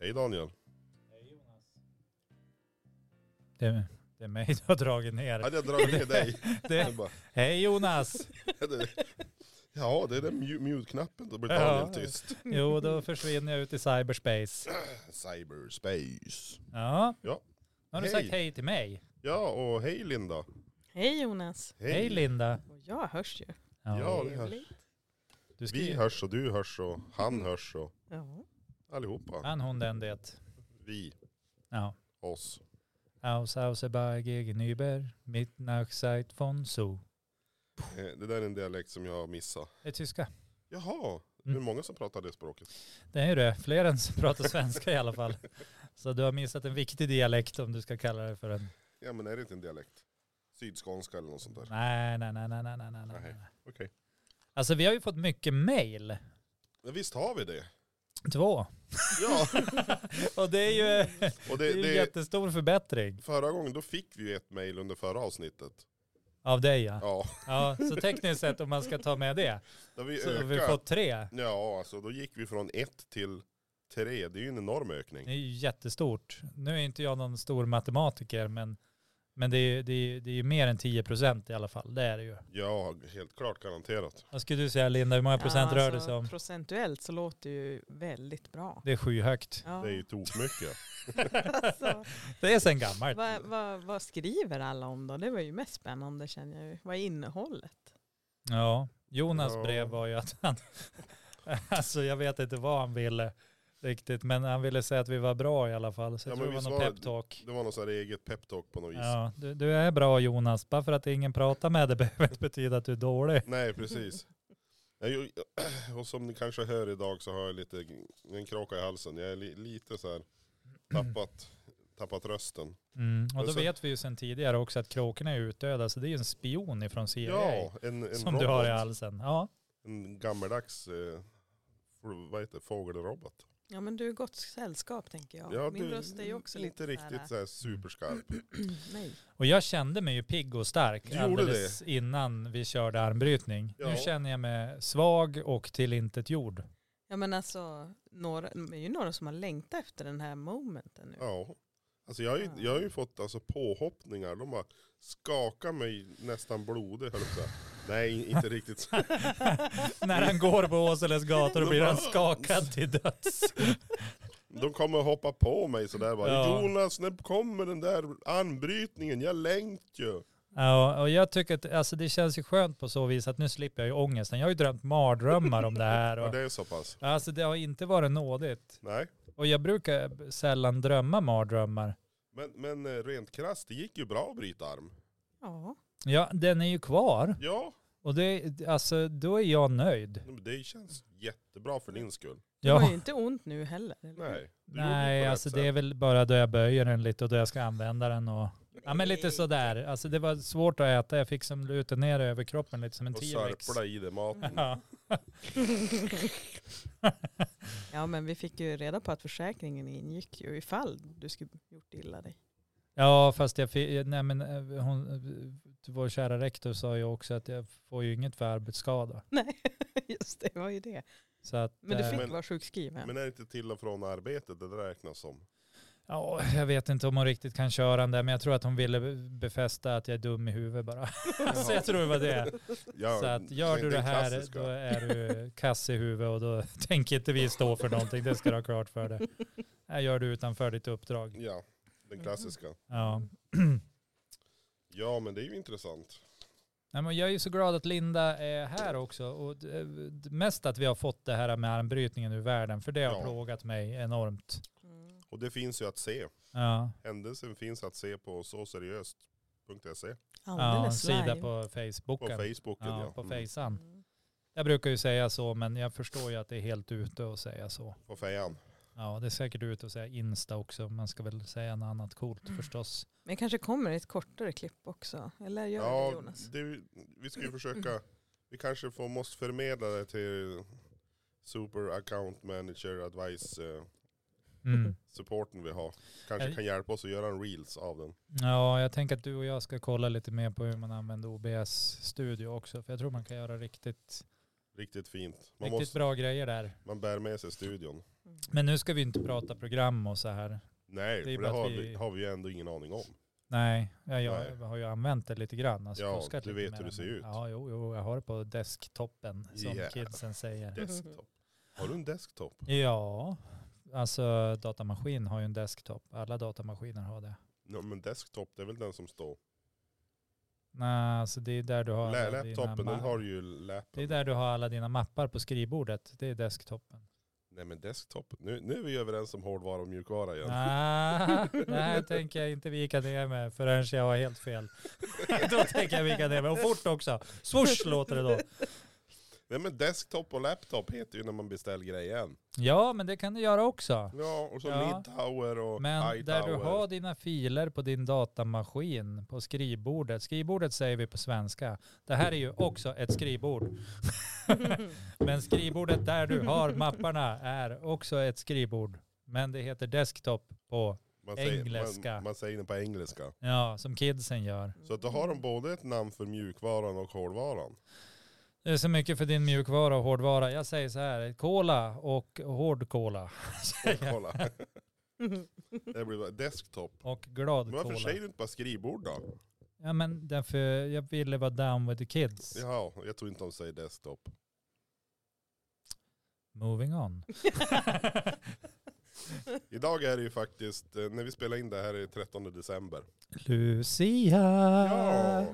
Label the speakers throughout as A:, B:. A: Hej Daniel.
B: Det är, det är mig du har dragit ner.
A: Hade jag dragit ner dig?
B: Det,
A: Jag bara,
B: hej Jonas!
A: det- Ja, det är den mute- mute-knappen. Då blir
B: Ja.
A: Daniel tyst.
B: Jo, då försvinner jag ut i cyberspace.
A: Cyberspace.
B: Ja.
A: Ja.
B: Nu har du
A: Hej.
B: sagt hej till mig.
A: Ja, och hej Linda.
C: Hej Jonas.
B: Hej, Linda.
C: Och jag hörs ju.
B: Ja.
A: Ja, det hörs.
C: Trevligt.
B: Du ska,
A: Vi hörs och du hörs och han hörs och
C: Ja.
A: allihopa.
B: Han, hon, den, det.
A: Vi,
B: Ja.
A: oss.
B: Aus, aus, bei, gegen, über, mit, nach, seit, von, so.
A: Eh, Det där är en dialekt som jag har missat.
B: Det är tyska.
A: Jaha, det är
B: Mm.
A: många som pratar det språket.
B: Det är ju det. Fler än som pratar svenska i alla fall. Så du har missat en viktig dialekt om du ska kalla det för en...
A: Ja men är det inte en dialekt? Sydskånska eller något sånt där.
B: Nej, nej, nej, nej, nej, nej, nej. nej.
A: Okej.
B: Alltså vi har ju fått mycket mail.
A: Ja, visst har vi det.
B: Två.
A: Ja,
B: Och det är ju,
A: och
B: det
A: det,
B: är ju en
A: det,
B: jättestor förbättring
A: förra gången då fick vi ju ett mejl under förra avsnittet.
B: av dig ja.
A: Ja,
B: ja. Så tekniskt sett om man ska ta med det
A: då vi
B: så har vi
A: ökade.
B: fått tre.
A: Ja, alltså då gick vi från ett till tre. Det är ju en enorm ökning.
B: Det är ju jättestort. Nu är inte jag någon stor matematiker men, men det är ju det är, det är ju mer än 10 procent i alla fall. Det är det ju.
A: Ja, helt klart garanterat.
B: Vad skulle du säga Linda, hur många procent
C: Ja,
B: rör det
C: alltså,
B: sig om?
C: Procentuellt så låter det ju väldigt bra.
B: Det är sjuhögt.
C: Ja.
A: Det är ju tokmycket.
C: alltså,
B: Det är sen gammalt.
C: vad, vad, vad skriver alla om då? Det var ju mest spännande känner jag ju. Vad är innehållet?
B: Ja, Jonas
A: Ja.
B: brev var ju att han, alltså jag vet inte vad han ville riktigt, men han ville säga att vi var bra i alla fall. Så jag
A: Ja,
B: tror det
A: men
B: var
A: visst
B: någon
A: var-
B: peptalk.
A: Det var något så här eget peptalk på något vis.
B: Ja, du, du är bra Jonas, bara för att ingen pratar med dig behöver inte betyda att du är dålig.
A: Nej, precis. Jag, ju- och som ni kanske hör idag så har jag lite en kråka i halsen. Jag är li, lite så här tappat, tappat rösten.
B: Mm. Och då
A: Alltså-
B: vet vi ju sedan tidigare också att kråkorna är utdöda, så det är ju en spion ifrån CIA
A: Ja, en, en
B: som
A: robot.
B: du har i halsen. Ja,
A: En gammeldags eh, f- vad heter det, fågelrobot.
C: Ja men du är gott sällskap tänker jag. Min
A: du-
C: röst är ju också
A: inte
C: lite eh,
A: riktigt så här superskarp.
C: här, Nej.
B: och jag kände mig ju pigg och stark
A: Du gjorde
B: alldeles innan vi körde armbrytning.
A: Ja.
B: Nu känner jag mig svag och tillintetgjord.
C: Ja men alltså, några, det är ju några som har längtat efter den här momenten nu.
A: Ja. Alltså jag, har ju, jag har ju fått alltså påhoppningar. De har skakat mig nästan blodig. höll jag på att säga. Nej, inte riktigt så.
B: När han går på Åseles gator blir han skakad till döds.
A: De kommer hoppa på mig sådär bara.
B: Ja.
A: Jonas, när kommer den där anbrytningen? Jag längt ju.
B: Ja, och jag tycker att alltså, det känns ju skönt på så vis att nu slipper jag ju ångesten. Jag har ju drömt mardrömmar om det här.
A: Ja,
B: Och,
A: det är så pass.
B: alltså det har inte varit nådigt.
A: Nej.
B: Och jag brukar sällan drömma mardrömmar.
A: Men, men eh, rent krasst, det gick ju bra att bryta arm.
C: Ja.
B: Ja, den är ju kvar.
A: Ja,
B: Och det, alltså, då är jag nöjd.
A: men det känns jättebra för din skull.
C: Det var
B: Ja.
C: ju inte ont nu heller. eller hur?
A: Nej. du gjorde
B: Nej,
A: på rätt
B: alltså
A: sätt.
B: det är väl bara då jag böjer den lite och då jag ska använda den och... Ja men lite sådär. Alltså det var svårt att äta. Jag fick som luta ner över kroppen lite som en
A: Och
B: T-rex.
A: sörpla i det maten.
B: Ja.
C: Ja men vi fick ju reda på att försäkringen ingick ju ifall du skulle gjort illa dig.
B: Ja, fast jag fick, nej men eh, hon, eh, vår kära rektor sa ju också att jag får ju inget för arbetsskada.
C: Nej, just det, det var ju det.
B: Så att,
C: Men du
B: eh,
C: fick
A: Men-
C: vara sjukskriven.
A: Men är det inte till och från arbetet det räknas som?
B: ja, jag vet inte om hon riktigt kan köra den där, men jag tror att hon ville befästa att jag är dum i huvudet bara. så jag tror det var det.
A: Ja,
B: Så att gör
A: den-
B: du det
A: den
B: här,
A: klassiska.
B: då är du kass i huvudet och då tänker inte vi stå för någonting. Det ska du ha klart för dig. Här gör du utanför ditt uppdrag.
A: Ja, den klassiska.
B: Ja.
A: Ja, men det är ju intressant.
B: Nej, men jag är ju så glad att Linda är här också. Och d- eh, d- mest att vi har fått det här med armbrytningen ur världen, för det har
A: Ja.
B: plågat mig enormt.
C: Mm.
A: Och det finns ju att se.
B: Ja,
A: Händelsen finns att se på såseriöst.se.
B: ja en
C: Alldeles
B: sida
C: live.
B: på
A: E. På
B: Facebooken.
A: Facebooken ja.
B: Ja, på
A: Mm.
B: Fejsan.
C: Mm.
B: Jag brukar ju säga så, men jag förstår ju att det är helt ute att säga så.
A: På fejan.
B: Ja, det är säkert ute att säga Insta också. Man ska väl säga något annat coolt förstås.
C: Men kanske kommer ett kortare klipp också. Eller gör det
A: Ja,
C: Jonas?
A: det, vi ska ju försöka. Vi kanske får, måste förmedla det till Super Account Manager Advice eh,
B: Mm.
A: supporten vi har. Kanske
B: Är-
A: kan hjälpa oss att göra en reels av den.
B: Ja, jag tänker att du och jag ska kolla lite mer på hur man använder OBS Studio också. För jag tror man kan göra riktigt,
A: Riktigt fint. Man,
B: riktigt
A: måste,
B: bra grejer där.
A: man bär med sig studion.
C: Mm.
B: Men nu ska vi inte prata program och så här.
A: Nej,
B: Det är
A: för det
B: bara att
A: har
B: vi-
A: vi, har vi ju ändå ingen aning om.
B: Nej, jag, jag
A: Nej.
B: har ju använt det lite grann. Alltså
A: Ja,
B: fuskat
A: du
B: lite
A: vet
B: med
A: hur det
B: den.
A: ser ut.
B: Ja, jo, jo, jag har det på desktopen som
A: Yeah.
B: kidsen säger.
A: Desktop. Har du en desktop?
B: Ja, alltså datamaskin har ju en desktop. Alla datamaskiner har det.
A: Ja, men desktop det är väl den som står.
B: Nej, alltså det är där du har
A: Lä-
B: alla dina
A: Laptopen,
B: ma-
A: den har ju lap.
B: Det är där du har alla dina mappar på skrivbordet. Det är desktopen.
A: Nej men desktop. Nu, nu är vi överens om hårdvara och mjukvara igen.
B: Ah, nej, tänker jag inte vika ner mig förrän jag har helt fel. då tänker jag vika ner mig. Och fort också. Swoosh låter det då.
A: Nej men desktop och laptop heter ju när man beställer grejen.
B: Ja, men det kan du göra också.
A: Ja och så
B: Ja.
A: midtower och
B: Men där du
A: hightower.
B: har dina filer på din datamaskin på skrivbordet. Skrivbordet säger vi på svenska. Det här är ju också ett skrivbord. Men skrivbordet där du har mapparna är också ett skrivbord. Men det heter desktop på,
A: man säger,
B: engelska.
A: Man, man säger den på engelska.
B: ja, som kidsen gör.
A: Så att då har de både ett namn för mjukvaran och hårdvaran.
B: Det är så mycket för din mjukvara och hårdvara. Jag säger så här, cola och hård cola.
A: Och Kolla.
C: Mm.
A: det blir bara desktop.
B: Och glad
A: Men varför
B: cola.
A: säger du inte bara skrivbord då?
B: Ja men därför jag ville vara down with the kids.
A: Ja, jag tror inte de säger desktop.
B: Moving on.
A: Idag är det ju faktiskt, eh, när vi spelar in det här är det 13 december.
B: Lucia. Ah.
A: Ja,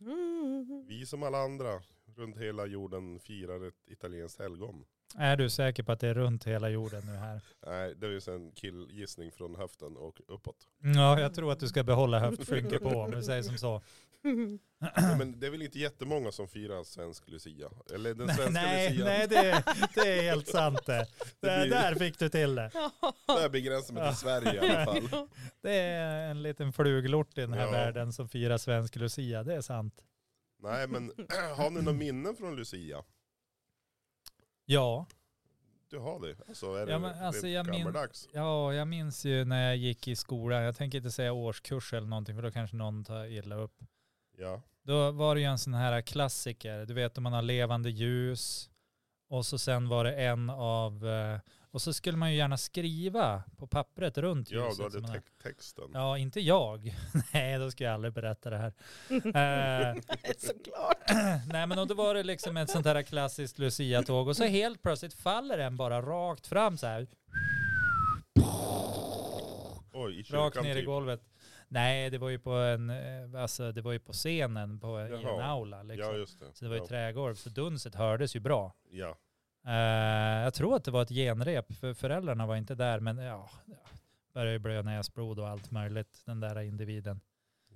C: Mm.
A: vi som alla andra runt hela jorden firar ett italienskt helgon.
B: Är du säker på att det är runt hela jorden nu här?
A: Nej, det är ju en killgissning från höften och uppåt.
B: Ja, jag tror att du ska behålla höftskynke på om du säger som så.
A: Nej, men det är väl inte jättemånga som firar svensk lucia? Eller den svenska
B: nej,
A: lucian.
B: nej det, det är helt sant det.
A: Det
B: det
A: blir-
B: där fick du till det.
A: Där begränsar mig till Sverige i alla fall.
B: Det är en liten fluglort i den här
A: Ja.
B: världen som firar svensk lucia, det är sant.
A: Nej men har ni några minnen från Lucia?
B: Ja,
A: Du har det? Alltså är det
B: Ja, men alltså,
A: rent
B: jag min-
A: gammaldags?
B: ja, jag minns ju när jag gick i skolan, jag tänker inte säga årskurs eller någonting för då kanske någon tar illa upp.
A: Ja.
B: Då var det ju en sån här klassiker, du vet om man har levande ljus och så sen var det en av, eh, och så skulle man ju gärna skriva på pappret runt
A: ja,
B: ljuset.
A: du hade
B: som man har.
A: te- texten.
B: Ja, inte jag. Nej, då ska jag aldrig berätta det här. Eh,
C: Såklart.
B: Nej men och då var det liksom ett sånt här klassiskt Lucia-tåg och så helt plötsligt faller den bara rakt fram så här.
A: Oj, i kyrkan
B: Rakt ner i
A: typ.
B: golvet. Nej det var ju på en, eh, alltså det var ju på scenen på, i en
A: Jaha.
B: aula liksom.
A: Ja just det.
B: Så det var ju
A: ja.
B: trägolv så dunset hördes ju bra.
A: ja.
B: Eh, jag tror att det var ett genrep för föräldrarna var inte där men ja, ja. började ju blöda näsblod och allt möjligt den där individen.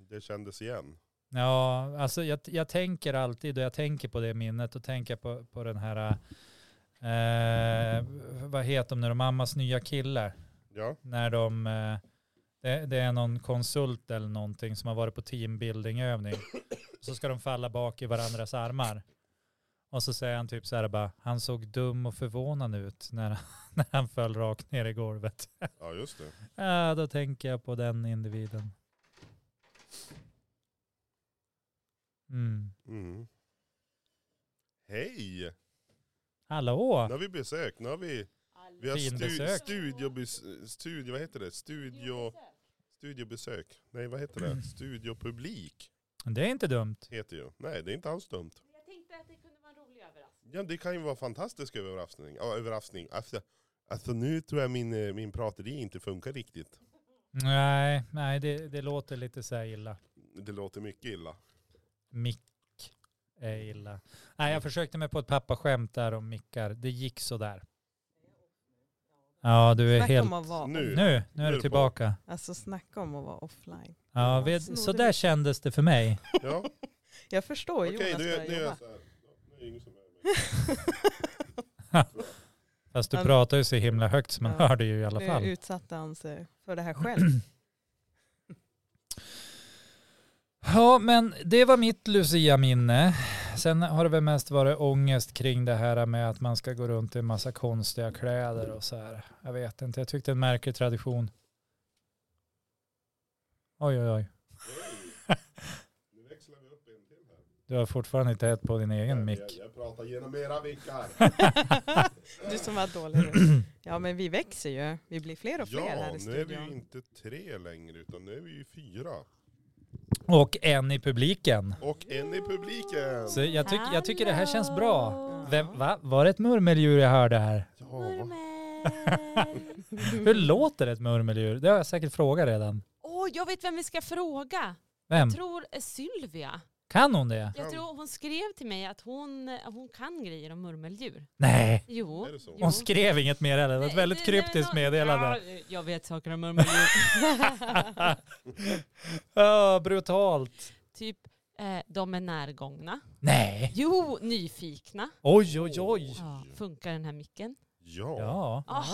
A: Det kändes igen.
B: Ja, alltså jag, jag tänker alltid och jag tänker på det minnet och tänker på, på den här, eh, vad heter de nu, de mammas nya killar.
A: Ja.
B: När de, eh, det, det är någon konsult eller någonting som har varit på teambuildingövning. Så ska de falla bak i varandras armar. Och så säger han typ så här bara, han såg dum och förvånad ut när, när han föll rakt ner i golvet.
A: ja, just det.
B: Ja, då tänker jag på den individen. Mm.
A: Mm. Hej!
B: Hallå!
A: Nu har vi besök. Nu har vi, vi har
B: Fin
A: stu,
B: besök.
A: studiobes, studio, vad heter det? Studio, studiobesök. Nej, vad heter det? Studiopublik
B: Det är inte dumt.
A: heter ju. Nej, det är inte alls dumt.
D: Jag tänkte att det kunde vara en rolig överraskning.
A: Ja, det kan ju vara fantastisk överraskning. Ja, överraskning. Alltså, alltså nu tror jag min, eh, min prateri inte funkar riktigt.
B: Nej, nej det, det låter lite så här illa.
A: Det låter mycket illa.
B: Mick är illa. Nej, jag försökte mig på ett pappaskämt där om mickar. Det gick så där. Ja, du är
C: Snacka
B: helt...
C: om att vara
A: Nu.
B: Nu, nu
A: är det
B: är du
A: på.
B: tillbaka.
C: Alltså snacka om att vara offline.
B: Ja, vi, så där kändes det för mig.
A: Ja,
C: Jag förstår
A: okej.
C: Jonas
A: nu,
C: börjar
A: nu är
C: jobba.
A: jag så här. Nu är det ingen som hör mig.
B: Fast
C: Ja.
B: du pratar ju så himla högt så man
C: Ja.
B: hör det ju i alla
C: Nu
B: fall.
C: utsatte han sig för det här själv.
B: Ja, men det var mitt Lucia-minne. Sen har det väl mest varit ångest kring det här med att man ska gå runt i en massa konstiga kläder och så här. Jag vet inte, jag tyckte det är en märklig tradition. Oj, oj, oj.
A: Nu växlar vi upp en till här.
B: Du har fortfarande inte ett på din egen
A: Jag,
B: mick.
A: jag pratar genom era vickar.
C: du som var dålig nu. Ja men vi växer ju. Vi blir fler och fler här
A: Ja,
C: i
A: nu är vi ju
C: studion.
A: inte tre längre utan nu är vi ju fyra.
B: Och en i publiken.
A: Och en i publiken.
B: Så jag, tyck, jag tycker det här känns bra.
C: Ja.
B: Vem, va? Var det ett murmeldjur jag hörde här?
A: Ja, va?
B: Hur låter ett murmeldjur? Det har jag säkert frågat redan.
D: Åh, jag vet vem vi ska fråga.
B: Vem?
D: Jag tror eh, Sylvia.
B: Kan hon det?
A: Kan-
D: Jag tror hon skrev till mig att hon, eh, hon kan grejer om murmeldjur.
B: Nej.
D: Jo.
A: Är det så?
D: jo.
B: Hon skrev inget mer heller. Det var ett
D: Nej,
B: väldigt
D: det- nej, men
B: kryptiskt
D: hon-
B: meddelande.
D: Ja, jag vet saker om murmeldjur.
B: Ja, brutalt.
D: typ, eh, de är närgångna.
B: Nej.
D: Jo, nyfikna.
B: Oj, oj, oj.
D: Ja, funkar den här micken?
A: Ja,
B: Ja.
D: Ah,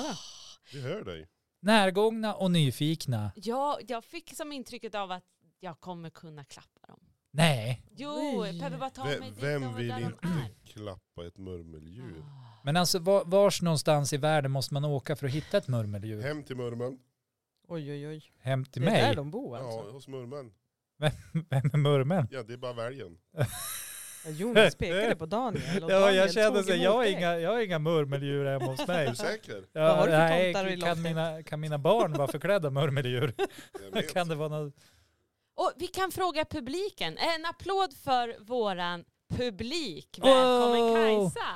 A: vi hör dig.
B: Närgångna och nyfikna.
D: ja, jag fick som intrycket av att jag kommer kunna klappa dem.
B: Nej.
D: Jo,
C: Nej.
D: jag behöver bara ta
A: Vem-
D: mig dit
A: vem
D: och
A: vill
D: där
A: inte-
D: de är.
A: Klappa ett murmeldjur.
D: Ah.
B: Men alltså var, vars någonstans i världen måste man åka för att hitta ett murmeldjur?
A: Hem till murmeln.
C: Oj oj oj.
B: Hem till
C: det är där
B: mig?
C: de bor alltså.
A: Ja, hos murmeln.
B: Vem är murmeln?
A: Ja, det är bara välgen.
C: Jonas pekade på Daniel och
B: Ja,
C: Daniel
B: jag kände
C: tog
B: så här,
C: emot
B: jag har
C: dig.
B: inga, jag har inga murmeldjur hemma hos
A: Är
B: mig.
A: du säker?
B: Ja,
C: Vad har du för
B: nej,
C: tomtar
B: kan,
C: i loftet?
B: mina, kan mina barn vara förklädda murmeldjur?
A: Jag vet.
B: Kan det vara något?
D: Och vi kan fråga publiken. En applåd för våran publik. Välkommen
B: Oh!
D: Kajsa!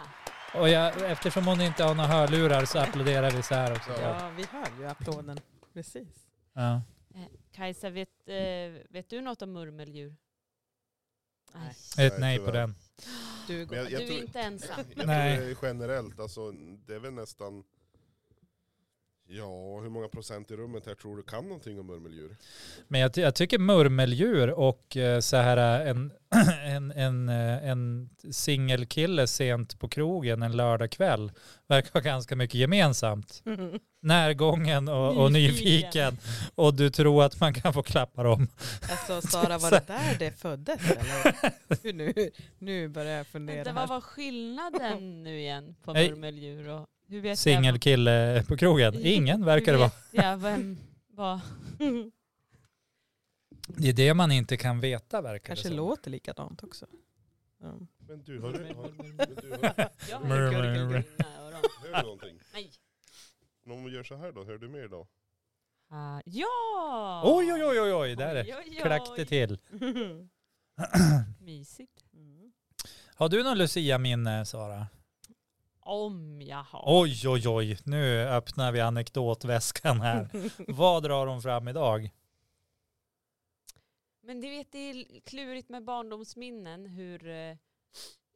B: Och jag, eftersom hon inte har några hörlurar så applåderar vi så här också.
A: Ja.
C: Ja vi hör ju applåden. Precis.
B: Ja.
D: Kajsa, vet, eh, vet du något om murmeldjur?
C: Nej.
A: Nej,
B: Ett nej Eh, på
A: tyvärr.
B: den.
C: Du
A: Men
C: går.
A: jag, jag
D: du är
A: tror,
D: inte ensam.
A: Jag
B: Nej.
A: tror det är generellt, alltså, det är väl nästan... Ja, hur många procent i rummet här tror du kan någonting om murmeldjur?
B: Men jag, ty- jag tycker murmeldjur och eh, så här eh, en, en, en, eh, en singelkille sent på krogen en lördagkväll verkar ha ganska mycket gemensamt. Närgången och, och
D: Nyfiken.
B: nyfiken. Och du tror att man kan få klappa dem.
C: Alltså Sara var det där det föddes eller? Hur Nu, nu börjar jag fundera
D: Vänta, vad
C: här.
D: var skillnaden nu igen på
B: Nej.
D: murmeldjur och hur vet
B: Singelkille på krogen. Ingen verkar det vara.
D: jag? Ja, vem var?
B: Det är det man inte kan veta verkar
C: Kanske
B: det som.
C: låter likadant också. Ja.
A: Men du, hör, du- har, men du, hör,
D: Jag
B: Murmel-
D: har gurgelgurna öron.
A: hör du någonting?
D: Nej.
A: Om vi gör så här då, hör du mer då?
D: Ah, ja!
B: Oj, oj, oj, oj, oj, där
D: Oj, oj, oj.
B: klack det till.
D: Mysigt.
C: Mm.
B: Har du någon Lucia-minne, Sara?
D: Om jag har.
B: Oj, oj, oj, nu öppnar vi anekdotväskan här. Vad drar hon fram idag?
D: Men du vet, det är klurigt med barndomsminnen hur eh,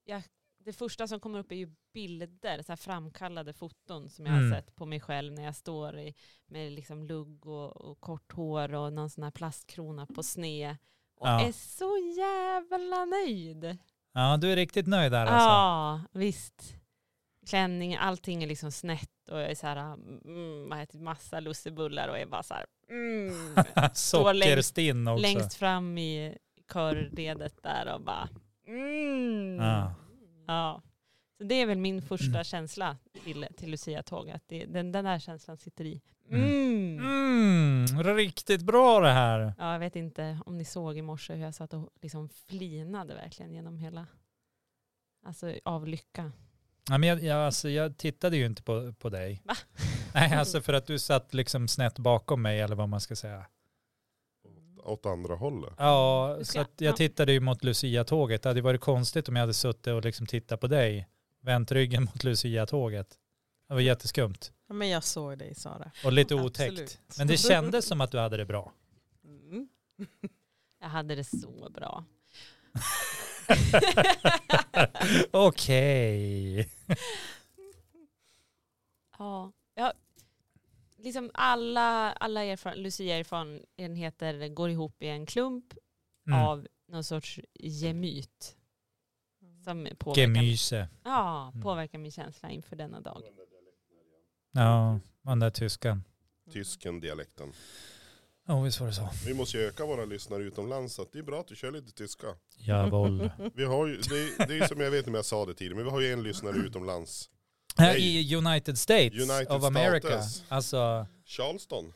D: jag, det första som kommer upp är ju bilder, så här framkallade foton som jag
B: Mm.
D: har sett på mig själv när jag står i, med liksom lugg och, och kort hår och någon sån här plastkrona på sne. Och
B: Ja.
D: är så jävla nöjd.
B: Ja, du är riktigt nöjd där alltså.
D: Ja, visst. Klänning, allting är liksom snett och jag är så här, mm, har ätit massa lussebullar och är bara så här, mm, står längst-
B: Sockerstinn också.
D: längst fram i körledet där och bara, mm.
B: Ja.
D: Ja. Så det är väl min första känsla till, till Lucia-tåg, att det, den, den där känslan sitter i. Mm.
B: Mm, riktigt bra det här.
D: Ja, jag vet inte om ni såg i morse hur jag satt och liksom flinade verkligen genom hela, alltså av lycka.
B: Ja, men jag, jag, alltså, jag tittade ju inte på, på dig.
D: Va?
B: Nej, alltså för att du satt liksom snett bakom mig eller vad man ska säga.
A: Åt andra hållet?
B: Ja,
D: Du ska-
B: så att
D: ja.
B: jag tittade ju mot Lucia-tåget. Det hade ju varit konstigt om jag hade suttit och liksom tittat på dig, vänt ryggen mot Lucia-tåget. Det var jätteskumt
C: Ja, men jag såg dig Sara.
B: och lite otäckt.
C: Absolut.
B: Men det kändes som att du hade det bra.
C: Mm.
D: Jag hade det så bra.
B: Okej.
D: Ja. ja. Liksom alla, alla erfaren- Lucia-erfarenheter går ihop i en klump
B: Mm.
D: av någon sorts gemyt. Som påverkar,
B: Gemüse.
D: Ja,
B: Mm.
D: påverkar min känsla inför denna dag.
B: Ja, den där tyskan.
C: Mm.
A: Tysken dialekten.
B: Ja, visst var det så.
A: Vi måste ju öka våra lyssnare utomlands så att det är bra att du kör lite tyska.
B: Jawohl.
A: Vi har ju, det, det är ju som jag vet inte om jag sa det tidigare, men vi har ju en lyssnare utomlands.
B: Här
A: Nej.
B: I United States
A: United
B: of America.
A: States.
B: Alltså,
A: Charleston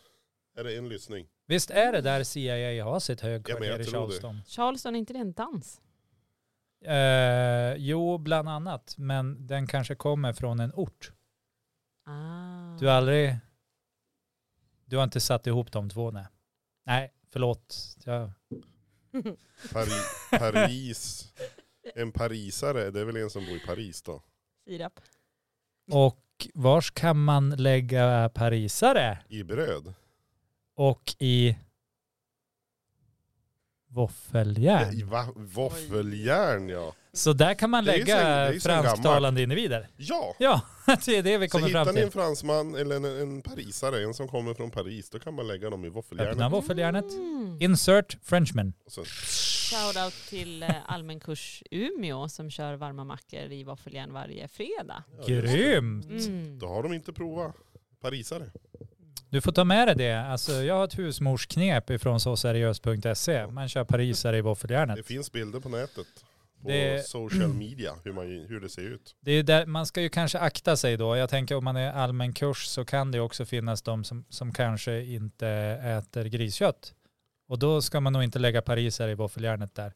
A: är det en lyssning.
B: visst är det där CIA har sitt
A: Ja, men
B: högkvarter
A: jag
B: i
A: tror det.
B: Charleston?
D: Charleston, är inte det en dans?
B: Eh, jo, bland annat. Men den kanske kommer från en ort.
D: Ah.
B: Du har aldrig... Du har inte satt ihop de två, nej. Nej, förlåt. Jag,
A: Pari, Paris. En parisare, det är väl en som bor i Paris då.
D: Sirap.
B: och vars kan man lägga parisare?
A: I bröd.
B: Och i våffeljärn.
A: I va- våffeljärn ja.
B: Så där kan man
A: Det är ju så- det
B: lägga
A: är ju så gammalt.
B: fransktalande individer.
A: Ja!
B: Ja, det är det vi
A: Så
B: kommer
A: hittar
B: fram
A: ni en
B: till.
A: fransman eller en, en parisare, en som kommer från Paris, då kan man lägga dem i
B: Öppna
A: våffeljärnet.
B: våffeljärnet.
D: Mm.
B: Insert Frenchman.
A: Och sen-
D: Shoutout till eh, allmän kurs Umeå som kör varma mackor i våffeljärn varje fredag.
A: Ja, just det.
B: Grymt!
D: Mm.
A: Då har de inte provat parisare.
B: Du får ta med dig det. Alltså, jag har ett husmorsknep ifrån såseriöst.se. Man kör parisare i våffeljärnet.
A: Det finns bilder på nätet. På
B: Det-
A: social media, hur, man, hur det ser ut.
B: Det är ju där, man ska ju kanske akta sig då. Jag tänker om man är allmän kurs så kan det ju också finnas de som, som kanske inte äter griskött. Och då ska man nog inte lägga parisare i våffeljärnet där.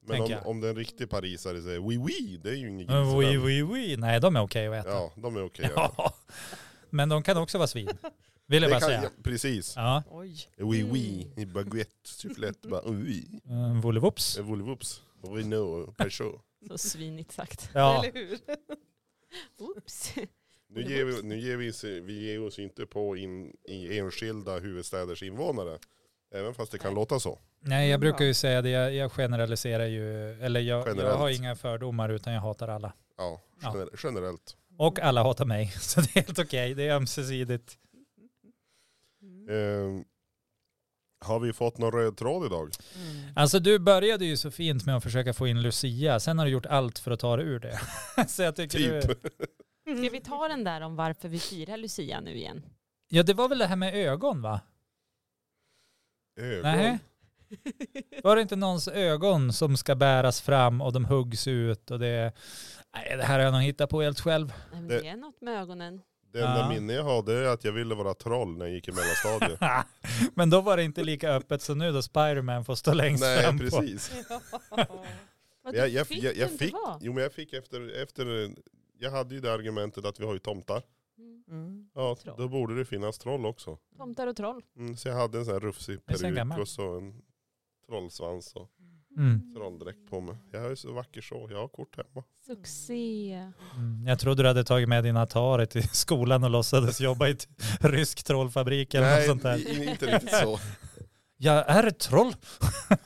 A: Men
B: Tänker
A: om,
B: jag.
A: om det är en riktig parisare säger oui oui, det är ju ingen gris.
B: Mm, Oui, oui, oui. Nej, de är okej att äta.
A: Ja, de är okej. ja.
B: Ja. Men de kan också vara svin. Vill jag bara
A: kan-
B: säga.
A: ja, precis.
B: Ja.
C: Oj.
A: Oui oui, i baguette, soufflette, bara oui.
B: Mm, Volevops.
A: Eh, Volvops, Renault, Peugeot.
D: Så svinigt sagt.
B: Ja.
C: Eller hur?
D: Oops.
A: Nu ger vi, nu ger vi, oss- vi ger oss inte på in, i enskilda huvudstäders invånare. Även fast det kan låta så.
B: Nej, jag
C: Bra.
B: brukar ju säga det. Jag, jag generaliserar ju. Eller jag, jag
A: Generellt.
B: har inga fördomar utan jag hatar alla.
A: Ja,
B: Ja.
A: gener- generellt.
B: Och alla hatar mig. Så det är helt okej. Det är ömsesidigt.
C: Mm.
A: Eh, har vi fått någon röd tråd idag?
C: Mm.
B: Alltså du började ju så fint med att försöka få in Lucia. Sen har du gjort allt för att ta dig ur det. så jag tycker du...
A: Typ.
D: Ska vi ta den där om varför vi firar Lucia nu igen?
B: Ja, det var väl det här med ögon va?
A: Ögon.
B: Nej. Var det inte någons ögon som ska bäras fram och de huggs ut och det... Nej, det här har jag nog hittat på helt själv.
D: Nej, men
A: Det-
D: det är något med ögonen.
A: Det enda
B: Ja.
A: minne jag har det är att jag ville vara troll när jag gick i mellanstadiet.
B: Men då var det inte lika öppet som nu då Spiderman får stå längst
A: Nej
B: fram på.
A: precis.
D: Vad
A: Jag,
D: du
A: jag,
D: fick
A: jag, jag,
D: inte
A: fick,
D: vara.
A: jo, men jag fick efter, efter, eh, jag hade ju det argumentet att vi har ju tomtar.
D: Mm.
C: Mm.
A: Ja,
D: Troll.
A: då borde det finnas troll också.
D: Tomtar och troll.
A: Mm, så jag hade en sån här rufsig
B: Det är så
A: peruk
B: gammalt.
A: och så en trollsvans och
B: Mm.
A: trolldräkt på mig. Jag är ju så vacker så, jag har kort hemma.
D: Succé.
B: Mm. Jag trodde du hade tagit med din Atari till skolan och låtsades jobba i ett rysk trollfabrik eller något
A: Nej,
B: sånt där.
A: i- inte riktigt så.
B: Jag är ett troll.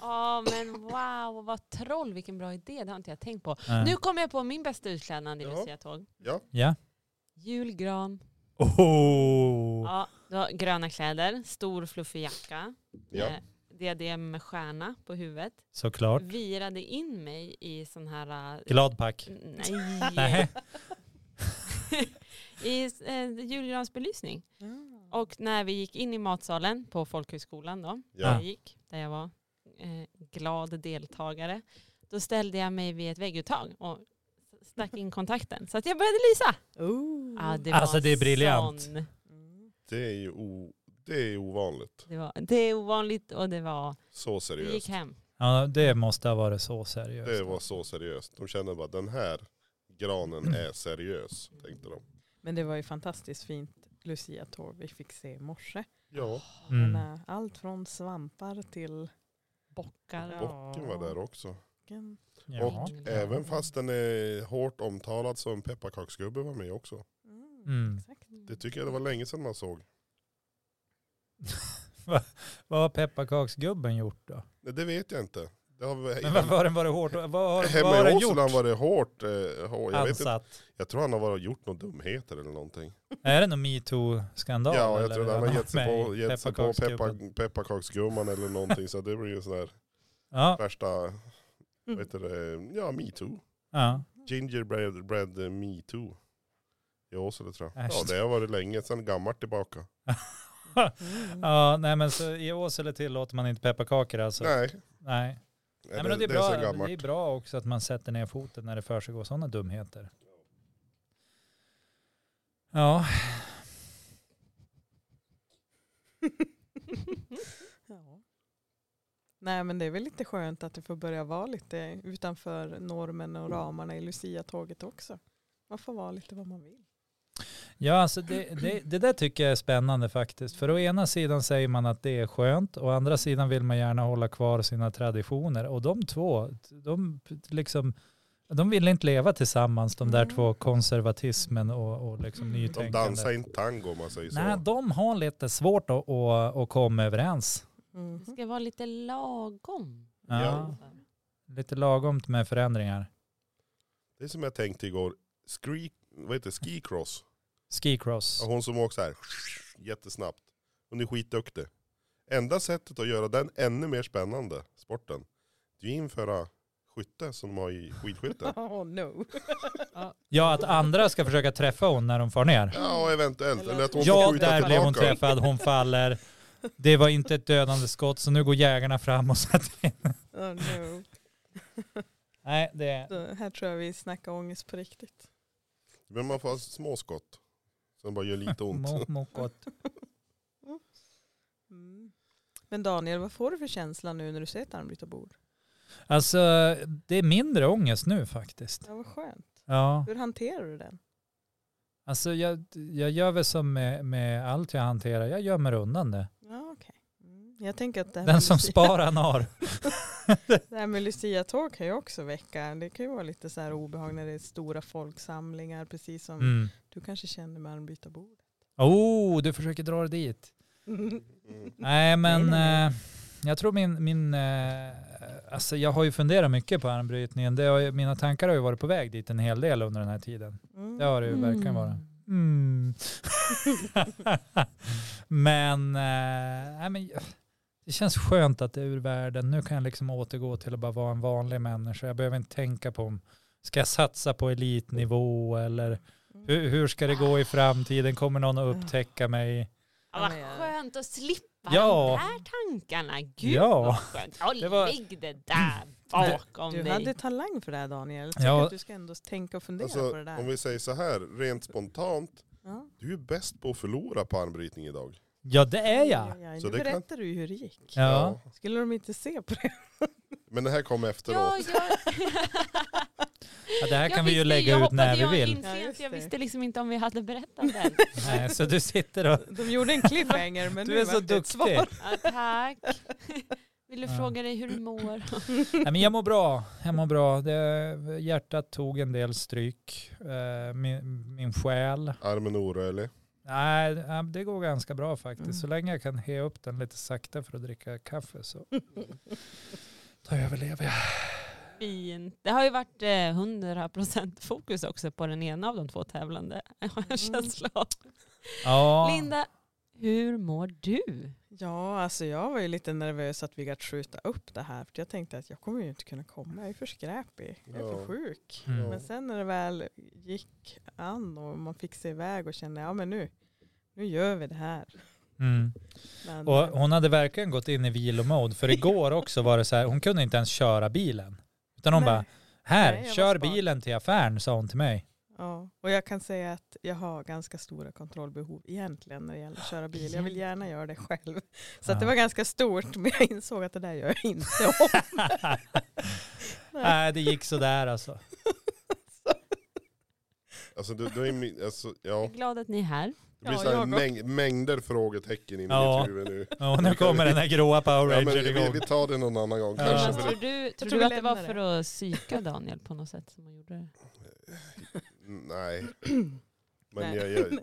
D: Ja men wow, vad troll, vilken bra idé. Det har inte jag tänkt på.
B: Ja.
D: Nu kommer jag på min bästa utklädnad i
A: Ja.
D: Lucia-tåg.
B: Eh, Ja.
D: Julgran.
B: Oh.
D: Ja, du har gröna kläder, stor fluffig jacka,
A: Ja.
D: eh, diadem med stjärna på huvudet.
B: Såklart.
D: Virade in mig i sån här... eh,
B: Gladpack.
D: Nej.
B: Nej.
D: I eh, julgransbelysning.
C: Ja.
D: Och när vi gick in i matsalen på folkhögskolan då, där
A: Ja.
D: jag gick, där jag var eh, glad deltagare, då ställde jag mig vid ett vägguttag och stack in kontakten. Så att jag började lysa.
C: Oh.
D: Ja, det
B: Alltså,
D: var
B: det är briljant.
D: Sån,
C: Mm.
A: Det är ju o, det är ju ovanligt.
D: det, var, det är ovanligt och det var,
A: Så
D: vi gick
A: seriöst.
D: hem.
B: Ja, det måste ha varit så seriöst.
A: Det var så seriöst. De kände bara den här granen är seriös, tänkte de.
C: Men det var ju fantastiskt fint Lucia-tåg vi fick se i morse.
A: Ja,
B: Mm.
C: Men, eh, Allt från svampar till
D: Bockar.
C: Ja.
A: bocken var där också.
C: vilken-
B: Ja.
A: Och även fast den är hårt omtalad så en pepparkaksgubbe var med också.
C: Mm,
B: Mm.
C: Exakt.
A: Det tycker jag det var länge sedan man såg.
B: Vad har pepparkaksgubben gjort då?
A: Nej, det vet jag inte. Det har vi,
B: Men varför har den varit hårt? Vad har, vad
A: hemma
B: har
A: i
B: den gjort? Alltså.
A: Åsele var det hårt. Eh, hår. jag, vet inte,
B: Ansatt.
A: jag tror han har varit, gjort några dumheter eller någonting.
B: Är det någon metoo-skandal?
A: ja, jag
B: eller
A: tror
B: vad
A: han har
B: man
A: gett sig
B: med
A: på,
B: i
A: gett sig på
B: pepparkaksgubben?
A: peppar, pepparkaksgumman eller någonting. så det blir ju sådär
B: Ja,
A: värsta,
C: Mm.
A: vad heter det, ja metoo.
B: ja.
A: Gingerbread bread, eh, metoo. I Åsele tror jag. Ja,
B: Äsch.
A: det har varit länge sedan gammalt tillbaka.
C: Mm.
B: Ja, nej men så i Åsele tillåter man inte pepparkakor alltså. Nej.
A: Nej,
B: nej.
A: det,
B: men det, är
A: det är så
B: bra, det är
A: gammalt.
B: bra också att man sätter ner foten när det försiggår sådana dumheter. Ja,
C: Ja. Nej men det är väl lite skönt att det får börja vara lite utanför normen
A: Mm.
C: och ramarna i Lucia-tåget också. Man får vara lite vad man vill.
B: ja alltså det, det, det där tycker jag är spännande faktiskt. För å ena sidan säger man att det är skönt, å andra sidan vill man gärna hålla kvar sina traditioner. Och de två, de, liksom, de vill inte leva tillsammans, de där
C: Mm.
B: två, konservatismen och, och liksom
C: Mm. De
A: De
B: nytänkandet.
A: dansar inte tango om man säger så.
B: Nej, de har lite svårt att, att, att komma överens.
C: Mhm.
D: Det ska vara lite lagom.
B: Ja.
A: Ja.
B: Lite lagomt med förändringar.
A: Det är som jag tänkte igår, Scree, vad heter det? skicross.
B: Skicross.
A: Ja, Hon som åker så här jättesnabbt. Hon är skitduktig. Enda sättet att göra den ännu mer spännande, sporten, det är ju att införa skytte som de har i skidskytte.
C: Oh no.
B: Ja, att andra ska försöka träffa hon när de far ner.
A: Ja, och eventuellt. Eller att hon
B: Ja,
A: får skjuta
B: där blev hon
A: tillbaka.
B: träffad. Hon faller. Det var inte ett dödande skott, så nu går jägarna fram och sätter in.
C: Oh, no.
B: Nej, det är...
C: Så här tror jag vi snackar ångest på riktigt.
A: Men man får ha små skott. Som bara gör lite ont.
B: Mo- mokot.
C: Mm. Men Daniel, vad får du för känsla nu när du ser ett armbrytarbord?
B: Alltså, det är mindre ångest nu faktiskt.
C: Ja, vad skönt.
B: Ja.
C: Hur hanterar du den?
B: Alltså, jag, jag gör väl som med, med allt jag hanterar. Jag gömmer undan det.
C: Ja, okej. Mm. Jag tänker att det här,
B: Den
C: med
B: som
C: Lucia-
B: spar han har.
C: det här med Lucia-tåg kan ju också väcka, det kan ju vara lite så här obehag när det är stora folksamlingar, precis som
B: Mm.
C: du kanske känner med armbrytarbord.
B: Oh, du försöker dra det dit.
A: Mm.
B: Nej men
C: nej, nej.
B: eh, jag tror min, min eh, alltså jag har ju funderat mycket på armbrytningen. Det har ju, mina tankar har ju varit på väg dit en hel del under den här tiden.
C: Mm.
B: Det har det ju verkligen varit. Mm. men, eh, nej, men jag- det känns skönt att det är ur världen. Nu kan jag liksom återgå till att bara vara en vanlig människa. Jag behöver inte tänka på om ska jag satsa på elitnivå eller
C: Mm.
B: hur, hur ska det gå i framtiden? Kommer någon att upptäcka mig?
D: Ja,
C: Ja, men-
D: vad skönt att slippa
B: Ja.
D: de där tankarna. Gud
B: Ja.
D: vad skönt. Ja,
B: Det var-
D: Lägg det där bakom
C: Du
D: dig.
C: hade talang för det här Daniel. Jag tycker
B: Ja.
C: att du ska ändå tänka och fundera
A: Alltså,
C: på det
A: om
C: där.
A: vi säger så här, rent spontant,
C: Ja.
A: du är bäst på att förlora på armbrytning idag.
B: Ja det är jag.
C: Aj, aj, aj.
A: Så
C: Nu
A: det kan-
C: berättar du ju hur det gick.
B: Ja.
C: Skulle de inte se på det?
A: Men det här kom
D: Ja,
A: efteråt.
D: jag...
B: Ja, det här
D: Jag
B: kan vi ju
D: visste-
B: lägga
D: jag
B: ut när
D: hoppade
B: vi
D: ju
B: vill.
D: in sent,
C: Ja, just
D: jag
C: det.
D: visste liksom inte om vi hade berättat den.
B: Nej, så du sitter och...
C: De gjorde en cliffhanger men
B: Du
C: nu
B: är så
C: vart det ett
B: duktig.
C: svar.
D: Ja, tack. Vill du
B: Ja.
D: fråga dig hur du mår?
B: Nej, men jag mår bra. Jag mår bra. Det, hjärtat tog en del stryk. Eh, Min, min själ.
A: Armen orörlig.
B: Nej, ja, det går ganska bra
C: Mm.
B: faktiskt. Så länge jag kan he upp den lite sakta för att dricka kaffe så då överlever jag.
D: Fint. Det har ju varit eh, 100% fokus också på den ena av de två tävlande. Har jag
C: Mm.
D: känsla av.
B: Ja,
D: Linda, hur mår du?
C: Ja, alltså jag var ju lite nervös att vi ska skjuta upp det här. För jag tänkte att jag kommer ju inte kunna komma. Jag är för skräpig. Jag är
A: Ja.
C: för sjuk.
B: Mm.
C: Men sen när det väl gick an och man fick sig iväg och kände ja men nu, nu gör vi det här.
B: Mm.
C: Men, eh,
B: Och hon hade verkligen gått in i vilomode. För igår också var det så här, hon kunde inte ens köra bilen. Utan hon
C: Nej.
B: bara, här,
C: Nej, jag var
B: kör
C: smart."
B: bilen till affären, sa hon till mig.
C: Ja, och jag kan säga att jag har ganska stora kontrollbehov egentligen när det gäller att köra bil. Jag vill gärna göra det själv. Så att det
B: Ja.
C: var ganska stort, men jag insåg att det där gör jag inte om. Nej.
B: Nej, det gick sådär alltså.
A: Alltså, du, du är, mi- alltså,
D: Jag
A: ja.
D: är glad att ni är här.
A: Det blir
C: Ja,
A: så här
C: jag också.
A: mäng, mängder frågetecken in i
B: Ja.
A: mitt huvud nu.
B: Ja, nu kommer den här gråa Power
A: Ja, men
B: Ranger
A: vi,
B: igång.
A: vi tar det någon annan gång
B: Ja.
A: kanske.
D: Men
A: För
D: tror
A: det,
D: du, tror
C: tror
D: du
C: vi
D: att det var
C: lämnar
D: för att psyka Daniel på något sätt som hon gjorde det?
A: nej. Men
C: Nej.
A: jag, jag,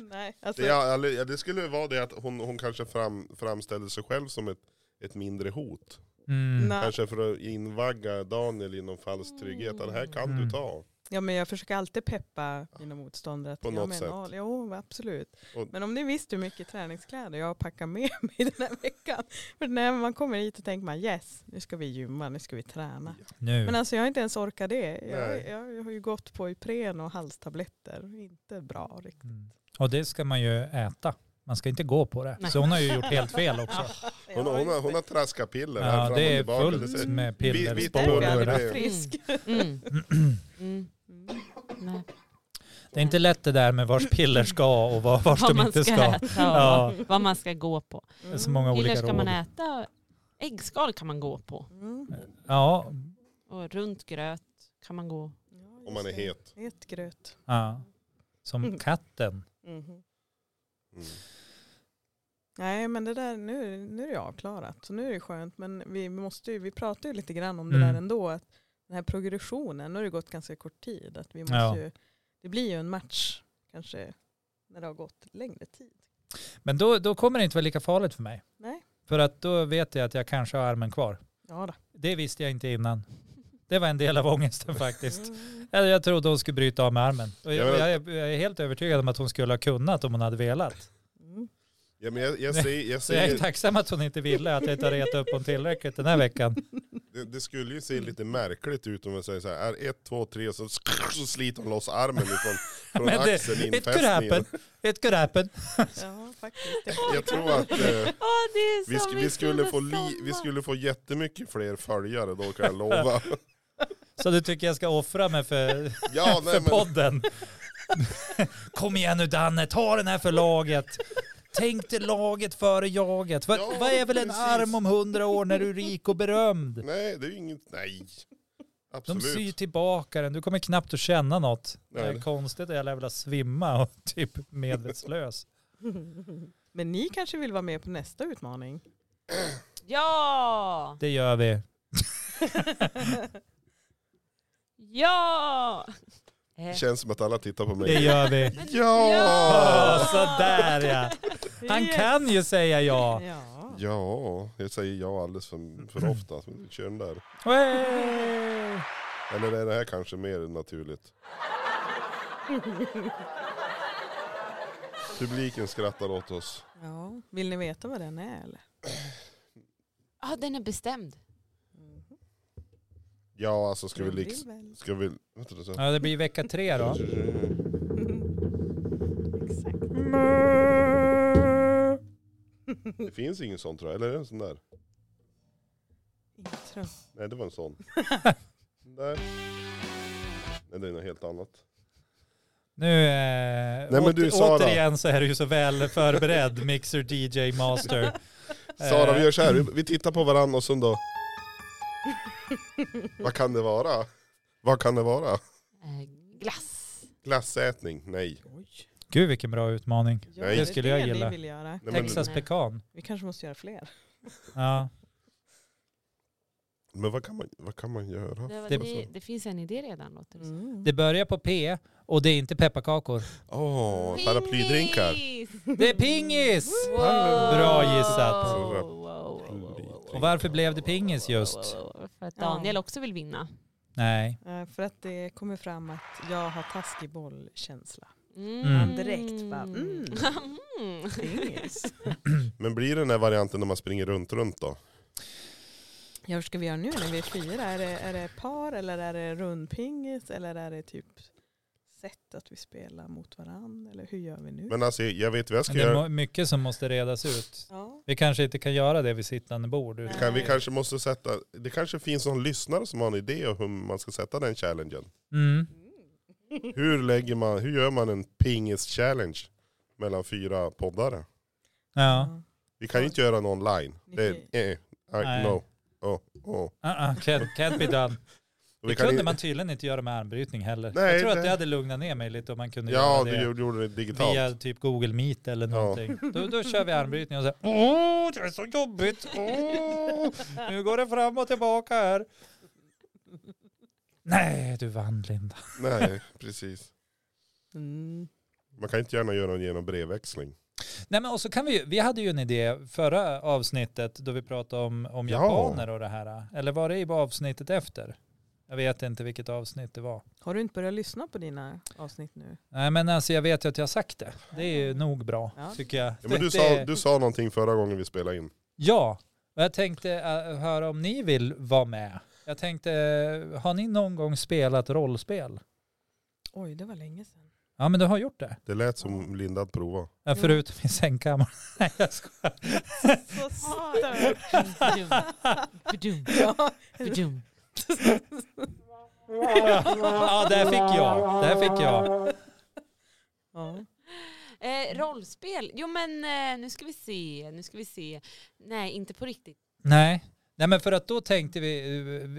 C: Nej, alltså,
A: det, jag, eller, ja, det skulle vara det att hon, hon kanske fram, framställde sig själv som ett, ett mindre hot.
B: Mm.
C: nej.
A: Kanske för att invagga Daniel i någon falsk trygghet. Ja, Det här kan
B: Mm.
A: du ta.
C: Ja, men jag försöker alltid peppa mina motståndare. Att
A: På
C: jag
A: något
C: men,
A: sätt.
C: ja, Jo, absolut.
A: Och-
C: Men om ni visste hur mycket träningskläder jag har packat med mig den här veckan. För när man kommer hit och tänker man yes, nu ska vi gymma, nu ska vi träna. Men
B: Nu.
C: alltså jag har inte ens orkat det. Jag,
A: Nej.
C: jag, jag har ju gått på Ipren och halstabletter. Inte bra riktigt.
B: Mm. Och det ska man ju äta. Man ska inte gå på det.
D: Nej.
B: Så hon har ju gjort helt fel också.
A: Hon, hon, har, hon har traskat piller här
B: Ja,
A: fram
B: det
A: och
B: är
A: tillbaka.
B: fullt
A: ser-
B: med
A: Vi- vi
B: piller.
A: tar
C: Därför
A: Spoiler,
C: jag aldrig
A: det är-
C: varit frisk.
D: Mm. Mm. Nej.
B: Det är inte lätt det där med vars piller ska och var- vars
D: Vad
B: de
D: man
B: inte
D: ska
B: ska.
D: äta och
B: Ja.
D: vad- vad man ska gå på.
B: Det är så många
D: Piller
B: olika
D: ska man
B: råd.
D: äta. Äggskal kan man gå på.
C: Mm.
B: Ja,
D: Och runt gröt kan man gå.
C: Ja,
A: Om man är
C: just det.
A: het.
C: Het gröt.
B: ja. Som
C: Mm.
B: katten.
C: Mhm.
A: Mm.
C: Nej men det där, nu, nu är det avklarat. Så nu är det skönt. Men vi, måste ju, vi pratar ju lite grann om det
B: Mm.
C: där ändå. Att den här progressionen, nu har det gått ganska kort tid. Att vi måste
B: Ja.
C: ju, det blir ju en match kanske när det har gått längre tid.
B: Men då, då kommer det inte vara lika farligt för mig.
C: Nej.
B: För att då vet jag att jag kanske har armen kvar.
C: Ja då.
B: Det visste jag inte innan. Det var en del av ångesten faktiskt.
C: Mm.
B: Eller Jag trodde hon skulle bryta av med armen. Och
A: Jag
B: jag,
A: vet-
B: jag, är- jag är helt övertygad om att hon skulle ha kunnat om hon hade velat.
C: Mm.
A: Ja, men jag, jag, ser, jag
B: Så jag är
A: ser,
B: tacksam att hon inte ville, att jag inte har retat upp hon tillräckligt den här veckan.
A: det, det skulle ju se lite märkligt ut om jag säger så här, är ett, två, tre och så, så sliter hon loss armen ifrån från
B: Men det-
A: axeln
B: It could happen.
A: infästningen.
B: It could happen.
C: Ja faktiskt. Det-
A: Jag tror att eh,
D: Åh, det är
A: vi,
D: som
A: sk- vi,
D: mitt
A: skulle
D: under
A: få li,
D: sommaren.
A: vi skulle få jättemycket fler följare då kan jag lova.
B: Så du tycker jag ska offra mig för,
A: Ja, nej,
B: för
A: men,
B: podden? Kom igen nu Danne, ta den här för laget. Tänk dig laget före jaget. Vad,
A: Ja,
B: vad är väl en
A: precis.
B: arm om hundra år när du är rik och berömd?
A: nej, det är ju inget, nej.
B: De syr
A: Absolut.
B: tillbaka den, du kommer knappt att känna något. Det
A: Nej,
B: är
A: det-
B: konstigt att jag lär vilja svimma och typ medvetslös.
C: Men ni kanske vill vara med på nästa utmaning?
D: Ja!
B: Det gör vi.
D: Ja! Eh,
A: Det känns som att alla tittar på
B: Det
A: mig.
B: gör vi.
A: Ja!
B: Åh, sådär ja. Han kan ju säga ja.
C: Ja.
A: Ja, jag säger ja alldeles för, för ofta. Kör den där.
B: Wey!
A: Eller är det här kanske mer naturligt? Publiken skrattar åt oss.
C: ja. Vill ni veta vad den är eller?
D: ah, den är bestämd.
A: Ja, alltså ska vi
C: Den
A: liksom...
C: Mm. vill väl.
A: Ska vi... Vänta, så.
B: Ja, det blir vecka tre då.
C: Exakt.
A: Det finns ingen sån tror jag. Eller är det en sån där?
C: Intro.
A: Nej, det var en sån. där. Nej, det är något helt annat.
B: Nu, eh,
A: men
B: åt,
A: du, Sara.
B: återigen så är du ju så väl förberedd, mixer, DJ, master.
A: Sara,
B: Eh,
A: vi gör så här. Vi- Vi tittar på varandra och sen då... Vad kan det vara? Vad kan det vara?
D: Eh, glass.
A: Glassätning? Nej.
C: Oj.
B: Eh, Gud vilken bra utmaning.
C: Ja,
A: Nej.
C: är
B: Det skulle jag
C: ni
B: gilla.
C: Vill göra.
A: Nej men,
B: Texas pekan.
C: Vi kanske måste göra fler.
B: Ja.
A: men vad, kan man, vad kan man göra?
D: Det, var,
B: Det-
D: det, det, finns en idé redan låter det som.
C: Mm.
B: Det börjar på P och det är inte pepparkakor.
A: Åh, paraplydrinkar.
D: Pingis!
B: Det är pingis!
D: Wow.
B: Bra gissat.
D: Wow, wow, wow, wow, wow,
B: Och varför blev det pingis just?
D: wow, wow, wow. För att Daniel också vill vinna.
B: Nej.
C: Eh, För att det kommer fram att jag har taskig bollkänsla.
D: Mm.
B: Mm.
C: Direkt bara, mm.
D: Mm.
C: Yes.
A: Men blir det den här varianten när man springer runt runt då?
C: Ja, hur ska vi göra nu när vi är fyra? Är det, är det par eller är det rundpingis? Eller är det typ sätt att vi spelar mot varandra? Eller hur gör vi nu?
A: Men alltså jag vet vad jag ska
B: Men det är
A: göra.
B: mo- mycket som måste redas ut.
C: ja.
B: Vi kanske inte kan göra det vid sittande bord. utan-
A: Kan, vi kanske måste sätta, det kanske finns någon lyssnare som har en idé om hur man ska sätta den challengen.
B: Mm.
A: Hur, lägger man, hur gör man en pingis-challenge mellan fyra poddare?
B: Ja.
A: Vi kan ju inte göra en online. Det är, eh, I,
B: Nej.
A: no. Oh, oh.
B: Uh-uh, can't, can't be done.
A: Och
B: Det
A: vi kan
B: kunde
A: inte-
B: man tydligen inte göra med armbrytning heller.
A: Nej,
B: jag tror
A: det-
B: att det hade lugnat ner mig lite om man kunde
A: Ja,
B: göra det.
A: du gjorde- gjorde det digitalt.
B: Via typ Google Meet eller någonting. Då, då kör vi armbrytning och så här, åh, det är så jobbigt, åh, nu går det fram och tillbaka här. Nej, du vann Linda.
A: Nej, precis.
C: Mm.
A: Man kan inte gärna göra den genom brevväxling.
B: Nej men och så kan vi ju, vi hade ju en idé förra avsnittet då vi pratade om, om
A: Ja.
B: japaner och det här. Eller var det i avsnittet efter? Jag vet inte vilket avsnitt det var.
C: Har du inte börjat lyssna på dina avsnitt nu?
B: Nej men alltså jag vet ju att jag har sagt det. Det är ju nog bra
C: Ja.
B: tycker jag.
A: Ja, men du,
B: Det-
A: sa, du sa någonting förra gången vi spelade in.
B: Ja, och jag tänkte eh, höra om ni vill vara med. Jag äh, tänkte, eh, har ni någon gång spelat rollspel?
C: Oj, det var länge sedan.
B: Ja men du har gjort det.
A: Det lät som Linda hade provat.
B: Ja,
C: Jo.
B: förutom i sängkammaren. Nej jag skojar.
C: Så stört.
D: Badum,
C: Ja.
D: badum.
B: Ja där fick jag. Där fick jag.
C: Ja.
D: Eh, rollspel, jo men eh, nu ska vi se, nu ska vi se. Nej, inte på riktigt.
B: Nej. Nej men för att då tänkte vi,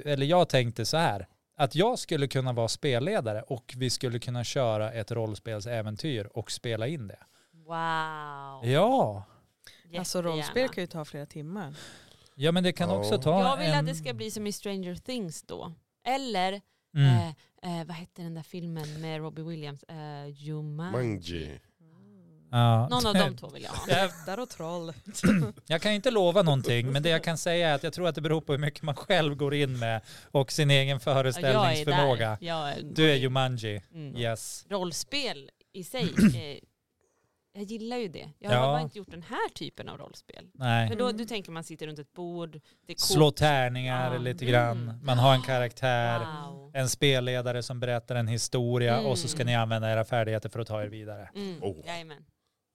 B: eller jag tänkte så här. Att jag skulle kunna vara spelledare och vi skulle kunna köra ett rollspelsäventyr och spela in det.
D: Wow.
B: Ja.
C: Alltså rollspel kan ju ta flera timmar.
B: Ja men det kan
A: Ja.
B: också ta
D: Jag vill
B: en...
D: att det ska bli som i Stranger Things då. Eller,
B: Mm.
D: eh, eh, vad hette den där filmen med Robbie Williams? Eh,
B: Ah.
D: Jumanji.
A: Mangi.
B: Ja.
D: Någon av de två vill jag ha.
B: Jag,
C: Där och troll.
B: jag kan inte lova någonting men det jag kan säga är att jag tror att det beror på hur mycket man själv går in med och sin egen
D: Jag är där.
B: föreställningsförmåga.
D: Jag är,
B: Du är Jumanji.
D: Mm.
B: Yes.
D: Rollspel i sig, eh, jag gillar ju det. Jag
B: Ja.
D: har bara inte gjort den här typen av rollspel.
B: Nej.
D: Men då, du tänker man sitter runt ett bord, det är
B: Slå
D: kort.
B: tärningar
D: Ja.
B: lite
C: Mm.
B: grann. Man har en karaktär.
D: Wow.
B: En spelledare som berättar en historia och så ska
D: Mm.
B: ni använda era färdigheter för att ta er vidare.
D: Mm.
A: Oh.
D: Jajamän.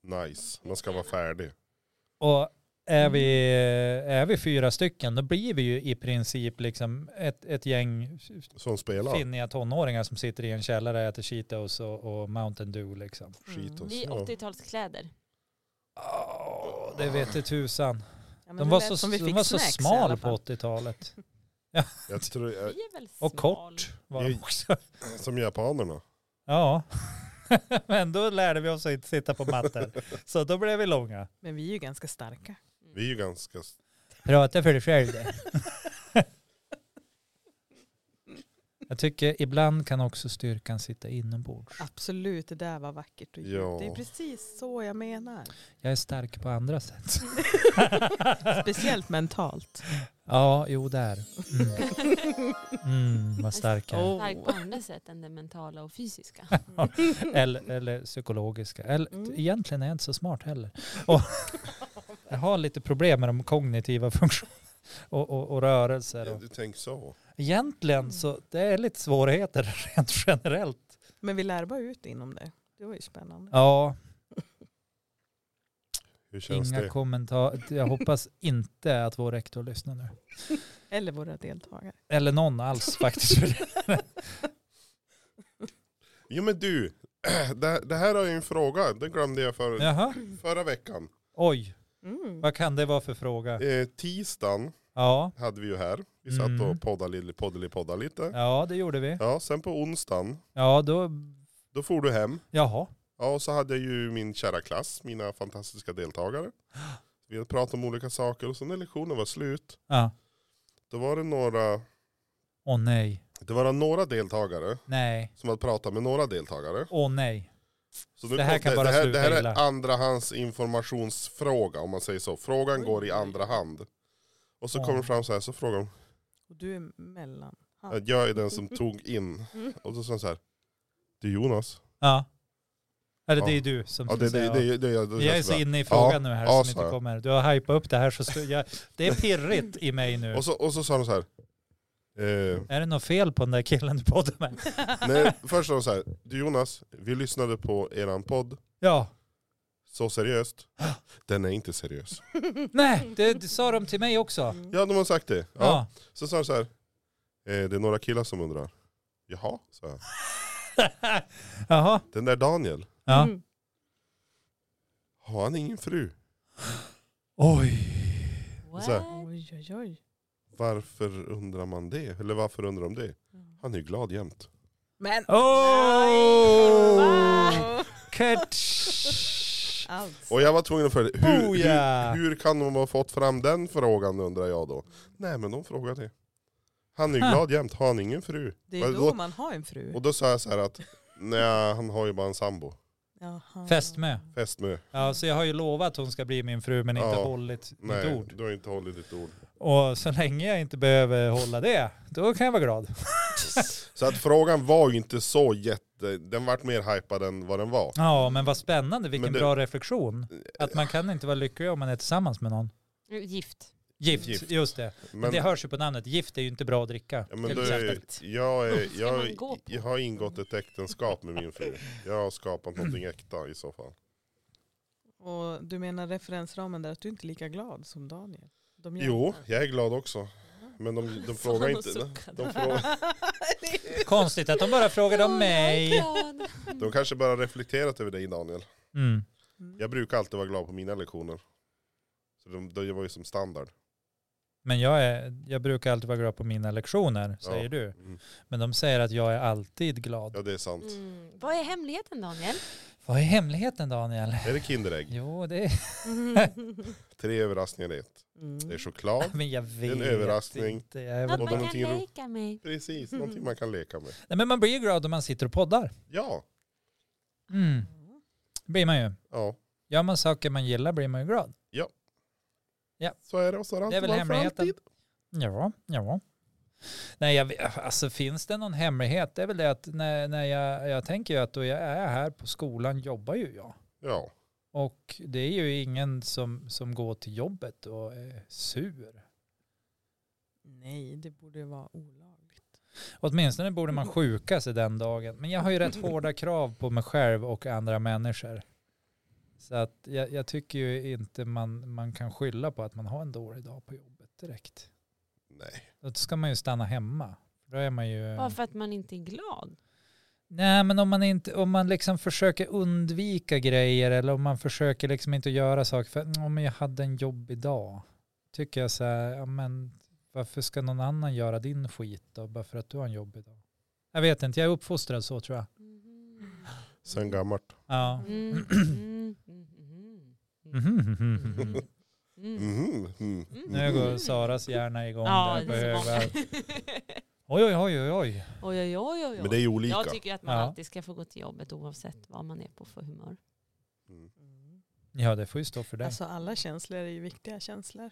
A: Nice. Man ska vara färdig.
B: Och är vi,
C: Mm.
B: är vi fyra stycken då blir vi ju i princip liksom ett, ett gäng
A: Som spelar.
B: finniga tonåringar som sitter i en källare och äter Cheetos och, och Mountain Dew liksom.
A: Skit
C: Mm.
A: oss.
D: I
A: Ja.
D: 80-talskläder.
B: Åh, det vet det tusan.
C: Ja, men
B: De
C: det
B: var
C: lät
B: så,
C: som vi
B: de
C: fick
B: var så
C: snacks i
B: smal
C: alla
B: på
C: fall.
B: 80-talet.
A: Jag tror, jag,
D: Vi är väl
B: Och
D: smal.
B: kort var de
A: Jag-
B: också.
A: som japanerna.
B: Ja. Men då lärde vi oss att inte sitta på mattor. Så då blev vi långa.
C: Men vi är ju ganska starka.
D: Mm.
A: Vi är ju ganska... s-
B: Prata för dig själv. Jag tycker ibland kan också styrkan sitta inombords.
C: Absolut, det där var vackert och
A: Ja.
C: ja. Det är precis så jag menar.
B: Jag är stark på andra sätt.
C: Speciellt mentalt.
B: Ja, jo där. Mm, mm vad stark jag är.
D: Stark på andra sätt än det mentala och fysiska.
B: Eller, eller psykologiska. Eller,
C: Mm.
B: Egentligen är jag inte så smart heller. Och, jag har lite problem med de kognitiva funktionerna och, och, och rörelser.
A: Ja,
B: Och.
A: du tänker så.
B: Egentligen så det är lite svårigheter rent generellt.
C: Men vi lär bara ut inom det. Det var ju spännande.
B: Ja,
A: Hur känns
B: inga
A: det?
B: kommentarer. Jag hoppas inte att vår rektor lyssnar nu.
C: Eller våra deltagare.
B: Eller någon alls faktiskt.
A: Jo men du, det, det här är ju en fråga. Den glömde jag för,
B: Jaha,
A: förra veckan.
B: oj.
C: Mm.
B: Vad kan det vara för fråga?
A: Eh, tisdagen
B: Ja,
A: hade vi ju här. Vi satt
B: Mm.
A: och poddade, lite- poddade, poddade lite.
B: ja det gjorde vi.
A: Ja, sen på onsdagen,
B: Ja, då...
A: då for du hem.
B: Jaha.
A: Ja, och så hade jag ju min kära klass, mina fantastiska deltagare. Vi hade pratat om olika saker och sen när lektionen var slut,
B: Ja.
A: då var det några,
B: Åh nej.
A: det var några deltagare
B: Nej.
A: som hade pratat med några deltagare.
B: Åh nej.
A: Så nu
B: Det här
A: kom-
B: kan bara
A: det här,
B: sluta
A: det här
B: illa.
A: är andrahands informationsfråga om man säger så. Frågan
C: Oj.
A: går i andra hand. Och så
B: Ja.
A: kommer det fram så här, så frågar de,
C: Och du är mellan.
A: att jag är den som tog in.
C: Mm.
A: Och så sa han så här, det är Jonas.
B: Ja. Eller det
A: Ja.
B: är du som
A: Ja, det, det,
B: säger.
A: det, det, det, det, det,
B: jag är så inne i frågan nu här
A: ja,
B: som
A: sa
B: inte
A: jag.
B: kommer. Du har hypat upp det här så stu- jag, Det är pirrigt i mig nu.
A: och, så, och så sa de så här, eh,
B: Är det något fel på den där killen du poddar med?
A: nej, först sa de så här, du Jonas, vi lyssnade på eran podd,
B: Ja.
A: så seriöst. Den är inte seriös.
B: Nej, det, det sa de till mig också.
C: Mm.
A: Ja, de har sagt det. Ja.
B: Ja.
A: Så sa de så här, eh, det är några killar som undrar. Jaha, sa jag.
B: Jaha.
A: Den där Daniel,
B: Ja.
C: Mm.
A: har han ingen fru?
B: Oj.
D: What?
A: Så
C: Oj, oj, oj.
A: Varför undrar man det? Eller varför undrar de det? Han är ju glad jämt.
C: Men
B: Oh!
D: Va?
B: Catch!
C: allt.
A: Och jag var tvungen att följa, hur,
B: Oh, ja.
A: hur, hur kan de ha fått fram den frågan undrar jag då. Nej men de frågar det. Han är ju
B: Huh.
A: glad jämt, har han ingen fru?
C: Det är
A: Och
C: då
A: då-
C: man har en fru.
A: Och då sa jag så här att, nej han har ju bara en sambo.
C: Jaha.
B: Fästmö.
A: Fästmö.
B: Ja, så jag har ju lovat att hon ska bli min fru men inte
A: Ja.
B: hållit mitt
A: Nej,
B: ord.
A: du har inte hållit ditt ord.
B: Och så länge jag inte behöver hålla det, då kan jag vara glad.
A: Så att frågan var ju inte så jätte, den vart mer hypad än vad den var.
B: Ja, men vad spännande, vilken
A: Men det-
B: bra reflektion. Att man kan inte vara lycklig om man är tillsammans med någon.
D: Gift.
B: Gift,
A: Gift.
B: just det.
A: Men,
B: det hörs ju på namnet. Gift är ju inte bra att dricka.
A: ja, men
B: till
A: då är,
B: exempel.
A: jag, är,
D: Ska man
A: jag,
D: gå på?
A: jag har ingått ett äktenskap med min fru. Jag har skapat någonting äkta i så fall.
C: Och du menar referensramen där att du inte är lika glad som Daniel? De gör
A: Jo,
C: inte.
A: jag är glad också. Men de, de frågar
D: Fan,
A: inte.
D: och
A: De,
D: suckade.
A: de, frågar,
B: Konstigt att de bara frågar
D: Oh
B: om mig.
A: de kanske bara reflekterat över dig Daniel.
B: Mm.
C: Mm.
A: Jag brukar alltid vara glad på mina lektioner. Så de, de var ju som standard.
B: Men jag, är, jag brukar alltid vara glad på mina lektioner, säger
A: Ja.
B: du.
A: Mm.
B: Men de säger att jag är alltid glad.
A: Ja det är sant.
D: Mm. Vad är hemligheten Daniel?
B: Vad är hemligheten Daniel?
A: Är det Kinderägg?
B: Jo, det är...
A: Tre överraskningar i ett.
C: Mm.
A: Det är choklad.
B: Men jag vet
A: överraskning.
B: inte. Jag är väl...
A: Och
D: Att man kan
A: någonting ro-
D: leka mig.
A: Precis, någonting man kan leka med.
B: Nej, men man blir ju glad om man sitter och poddar.
A: Ja,
B: Mm. Det blir man ju.
A: ja.
B: Gör man saker man gillar blir man ju glad.
A: så är det. Och så har
B: Det är väl
A: alltid varit för
B: hemligheten.
A: alltid.
B: Ja, ja. Nej, jag, vet- alltså finns det någon hemlighet? Det är väl det att när, när jag, jag tänker ju att då jag är här på skolan jobbar ju jag.
A: Ja,
B: Och det är ju ingen som, som går till jobbet och är sur.
C: Nej, det borde ju vara olagligt.
B: Åtminstone borde man sjuka sig den dagen. Men jag har ju rätt hårda krav på mig själv och andra människor. Så att jag, jag tycker ju inte man, man kan skylla på att man har en dålig dag på jobbet direkt.
A: nej.
B: Då ska man ju stanna hemma. Då är man ju...
D: Bara för att man inte är glad.
B: Nej, men om man, inte, om man liksom försöker undvika grejer eller om man försöker liksom inte göra saker för att men jag hade en jobbig dag. Tycker jag så här, ja, men varför ska någon annan göra din skit då, bara för att du har en jobbig dag? Jag vet inte, jag är uppfostrad så tror jag.
D: Mhm.
A: Sen gammalt.
B: Ja.
D: Mm, mm, mm, mm, mm, mm, mm.
A: Mhm, mm.
B: Nu går Saras hjärna igång
D: Ja,
B: där på
D: det är så
B: höga.
D: många.
B: Oj, oj, oj, oj, oj.
D: Oj, oj, oj, oj,
A: Mm. Men det är
D: oj.
A: ju olika.
D: Mm. Jag tycker att man
B: Ja.
D: alltid ska få gå till jobbet oavsett vad man är på för humör.
A: Mm.
B: Ja, det får ju stå för dig.
C: Alltså alla känslor är ju viktiga känslor.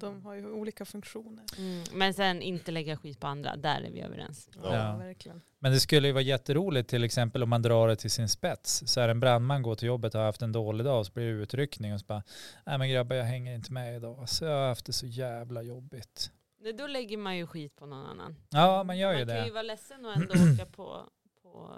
C: De har ju olika funktioner.
D: Mm. Men sen inte lägga skit på andra, där är vi överens.
A: Ja.
B: Ja.
C: verkligen.
B: Men det skulle ju vara jätteroligt till exempel om man drar det till sin spets. Så här en brandman går till jobbet och har haft en dålig dag och så blir det utryckning och så bara, nej men grabbar jag hänger inte med idag. Så jag har haft det så jävla jobbigt.
D: Nej, Då lägger man ju skit på någon annan.
B: Ja man gör ju
D: man kan ju
B: det.
D: vara ledsen och ändå åka på, på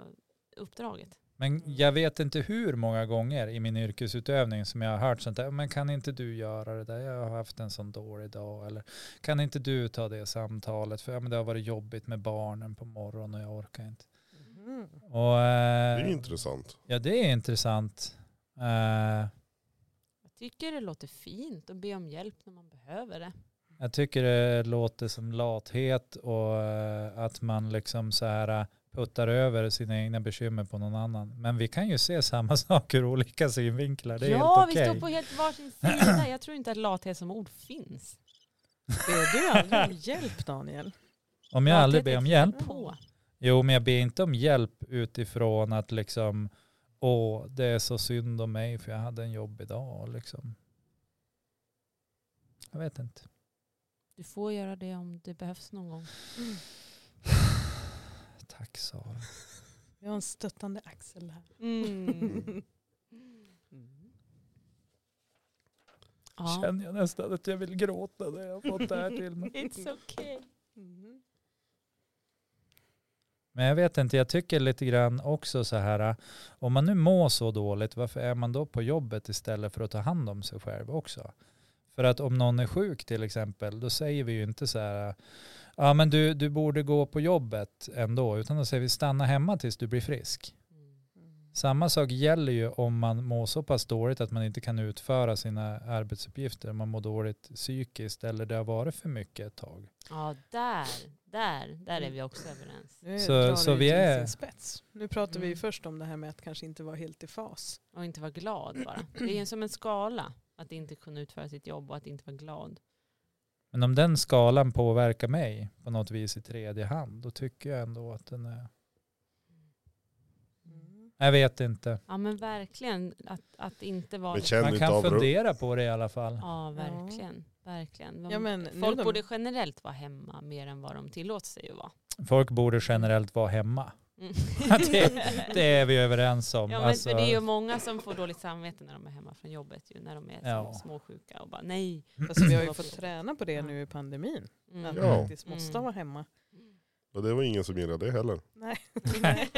D: uppdraget.
B: Men jag vet inte hur många gånger i min yrkesutövning som jag har hört sånt där, men kan inte du göra det där? Jag har haft en sån dålig dag. Eller kan inte du ta det samtalet? För ja, men det har varit jobbigt med barnen på morgonen och jag orkar inte.
C: Mhm.
B: Och,
A: Det
B: eh,
A: är ju intressant.
B: Ja det är intressant. Eh,
D: Jag tycker det låter fint att be om hjälp när man behöver det.
B: Jag tycker det låter som lathet och eh, att man liksom så här eh, puttar över sina egna bekymmer på någon annan. Men vi kan ju se samma saker ur olika synvinklar. Det är
D: ja,
B: helt
D: vi
B: okej.
D: står på helt varsin sida. Jag tror inte att lathet som ord finns.
C: Ber du aldrig om hjälp Daniel?
B: Om jag
D: Lathet
B: aldrig
D: är
B: ber om
D: att
B: hjälp.
D: hitta På.
B: Jo, men jag ber inte om hjälp utifrån att liksom, åh, det är så synd om mig för jag hade en jobbig dag. Liksom. Jag vet inte.
D: Du får göra det om det behövs någon gång.
B: Tack Sara.
C: Vi har en stöttande axel här.
D: Mm.
B: Mm.
D: Ja.
B: Känner jag nästan att jag vill gråta när jag har fått det här till mig.
D: It's okay.
C: Mhm.
B: Men jag vet inte, jag tycker lite grann också så här, äh, om man nu mår så dåligt, varför är man då på jobbet istället för att ta hand om sig själv också? För att om någon är sjuk till exempel, då säger vi ju inte så här, äh, ja men du, du borde gå på jobbet ändå, utan då säger vi stanna hemma tills du blir frisk.
D: Mm.
B: Samma sak gäller ju om man mår så pass dåligt att man inte kan utföra sina arbetsuppgifter, man mår dåligt psykiskt eller det har varit för mycket ett tag.
D: Ja, där, där, där är vi också överens.
C: Nu
B: Så-
C: drar
B: så
C: det
B: vi
C: till
B: är-
C: sin spets. Nu pratar vi ju
D: Mm.
C: först om det här med att kanske inte vara helt i fas.
D: Och inte vara glad bara. Det är ju som en skala. Att inte kunna utföra sitt jobb och att inte vara glad.
B: Men om den skalan påverkar mig på något vis i tredje hand, då tycker jag ändå att den är...
C: Mm.
D: Mm.
B: Jag vet inte.
D: Ja men verkligen, att, att inte vara...
A: Men känn
B: Man
A: inte
B: kan
A: av ro-
B: fundera på det i alla fall.
D: Ja verkligen, verkligen.
C: Ja, men nu
D: Folk
C: de-
D: borde generellt vara hemma mer än vad de tillåts sig att vara.
B: Folk borde generellt vara hemma.
D: Mm.
B: Det- Det är vi överens om.
D: Ja, men
B: Alltså,
D: för det är ju många som får dåligt samvete när de är hemma från jobbet, ju, när de är
B: Ja.
D: ja. småsjuka och bara nej.
C: Fast Alltså, vi har ju
D: Mm.
C: fått träna på det nu i pandemin.
D: Mm.
C: Att
A: Ja.
C: vi faktiskt måste
D: Mm.
C: vara hemma.
A: Och det var ingen som gillade det heller.
C: Nej.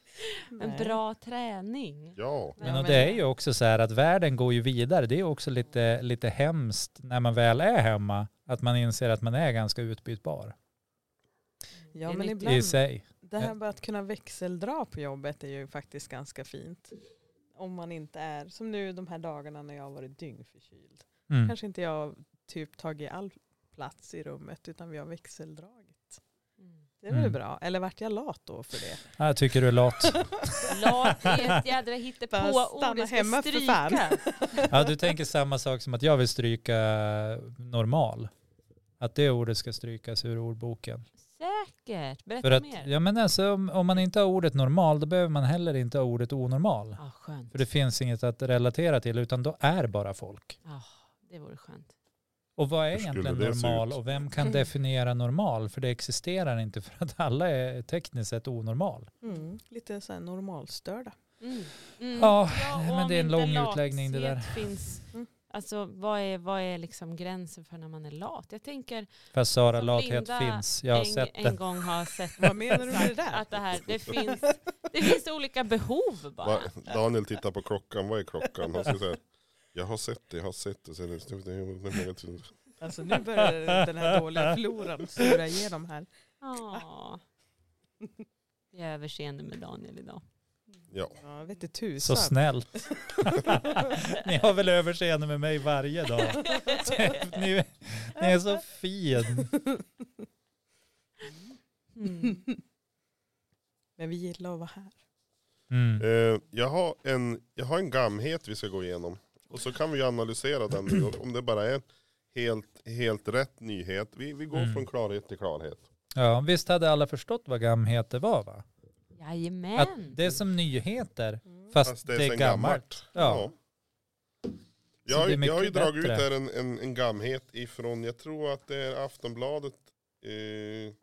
D: En bra träning.
A: Ja,
B: Men och det är ju också så här att världen går ju vidare. Det är ju också lite, lite hemskt när man väl är hemma, att man inser att man är ganska utbytbar
D: Det
C: Ja
D: är
C: men
D: nytt.
B: i
C: ibland,
B: sig.
C: det här med att kunna växeldra på jobbet är ju faktiskt ganska fint. Om man inte är, som nu de här dagarna när jag har varit dyngförkyld.
B: Mm.
C: Kanske inte jag har typ tagit all plats i rummet utan vi har växeldragit.
D: Mm.
C: Det är väl
B: Mm.
C: bra. Eller vart jag lat då för det?
B: Ja, Jag tycker du är lat.
D: Lat är ett jädra
C: Bara
D: hittepåord.
C: stanna
D: Det ska
C: hemma för
D: strykas.
C: fan.
B: Ja, du tänker samma sak som att jag vill stryka normal. Att det ordet ska strykas ur ordboken.
D: Säkert. Berätta
B: För att,
D: mer.
B: ja, men alltså, om, om man inte har ordet normal, då behöver man heller inte ha ordet onormal.
D: Ah, skönt.
B: För det finns inget att relatera till, utan då är bara folk.
D: Ah, det vore skönt.
B: Och vad är
A: Hur skulle
B: egentligen
A: det se
B: normal
A: ut?
B: och vem kan
D: Mm.
B: definiera normal? För det existerar inte för att alla är tekniskt sett onormal.
C: Mm, lite så här normalstörda.
D: Mm. Mm.
B: Ja,
D: och
B: men
D: om
B: det är en
D: inte
B: lång utläggning det där.
D: lathet Finns,
C: Mm.
D: alltså, vad är, vad är liksom gränsen för när man är lat? Jag tänker
B: Fast Sara,
D: Som
B: lathet
D: Alltså, Linda
B: finns. Jag har
D: en,
B: sett
D: en
B: det.
D: gång har sett
C: Vad menar du med det där?
D: att det här, det finns, det finns olika behov bara.
A: Va, Daniel tittar på klockan, vad är klockan? Han säger så här, jag har sett det, jag har sett det. Så det-
C: Alltså nu börjar den här dåliga floran sura igenom här.
D: Ja. Jag är överseende med Daniel idag.
A: Ja,
C: Ja, vet du tusan.
B: Så snällt. Ni har väl överseende med mig varje dag. Ni, ni är så fin.
D: Mm.
C: Men vi gillar att vara här.
B: Mm.
A: eh, jag, har en, jag har en gamhet vi ska gå igenom. Och så kan vi ju analysera den nu, om det bara är helt, helt rätt nyhet. Vi, vi går
B: Mm.
A: från klarhet till klarhet.
B: Ja, visst hade alla förstått vad gamheter var va? Att
D: Jajamän.
B: det är som nyheter, fast, det är,
A: sen
B: gammalt. Ja.
A: Jag, har
B: det är
A: ju- jag har ju
B: mycket
A: dragit ut
B: bättre.
A: här en, en, en gamhet ifrån, jag tror att det är Aftonbladet eh,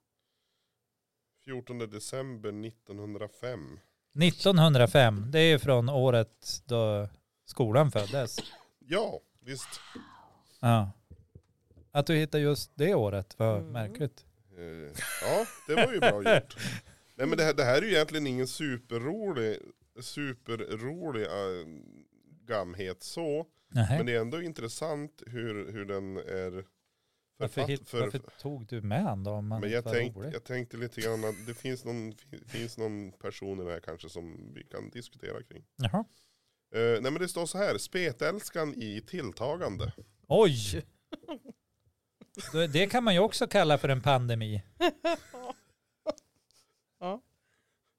A: 14 december 1905.
B: 1905, det är ju från året då skolan föddes.
A: Ja, visst.
B: Ja. Att du hittar just det året var
C: Mm.
B: märkligt.
A: Eh, ja, det var ju bra gjort. Nej men det här, det här är ju egentligen ingen superrolig, superrolig eh, gamhet så.
B: Nej.
A: Men det är ändå intressant hur, hur den är
B: Varför,
A: författ-
B: hit, varför tog du med han då? Om han
A: Men
B: inte
A: jag,
B: var
A: tänkt,
B: rolig?
A: jag tänkte lite grann att det finns någon, fi- finns någon person i det här kanske som vi kan diskutera kring.
B: Jaha.
A: Eh, nej men det står så här, spetälskan i tilltagande.
B: Oj! Då- Det kan man ju också kalla för en pandemi.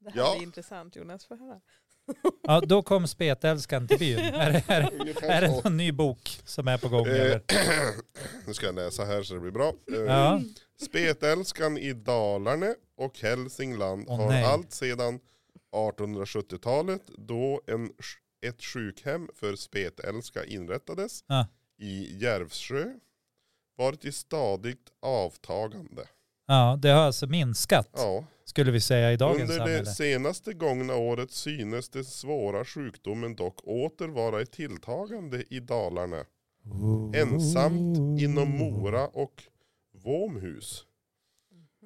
C: Det här
A: Ja.
C: är intressant Jonas, få höra.
B: Ja, då kom spetälskan till byn. Är, det- är, det- är
A: Ungefär
B: det
A: så.
B: någon ny bok som är på gång? Eller?
A: Eh, nu ska jag läsa här så det blir bra. Eh,
B: Ja.
A: Spetälskan i Dalarne och Hälsingland
B: Åh,
A: har
B: nej.
A: allt sedan 1870-talet då en, sj- ett sjukhem för spetälska inrättades
B: Ja.
A: i Järvsjö varit i stadigt avtagande.
B: ja, det har alltså minskat
A: Ja.
B: skulle vi säga i dagens
A: Under det
B: samhälle.
A: senaste gångna året synes den svåra sjukdomen dock åter vara i tilltagande i Dalarna. Ensamt inom Mora och Våmhus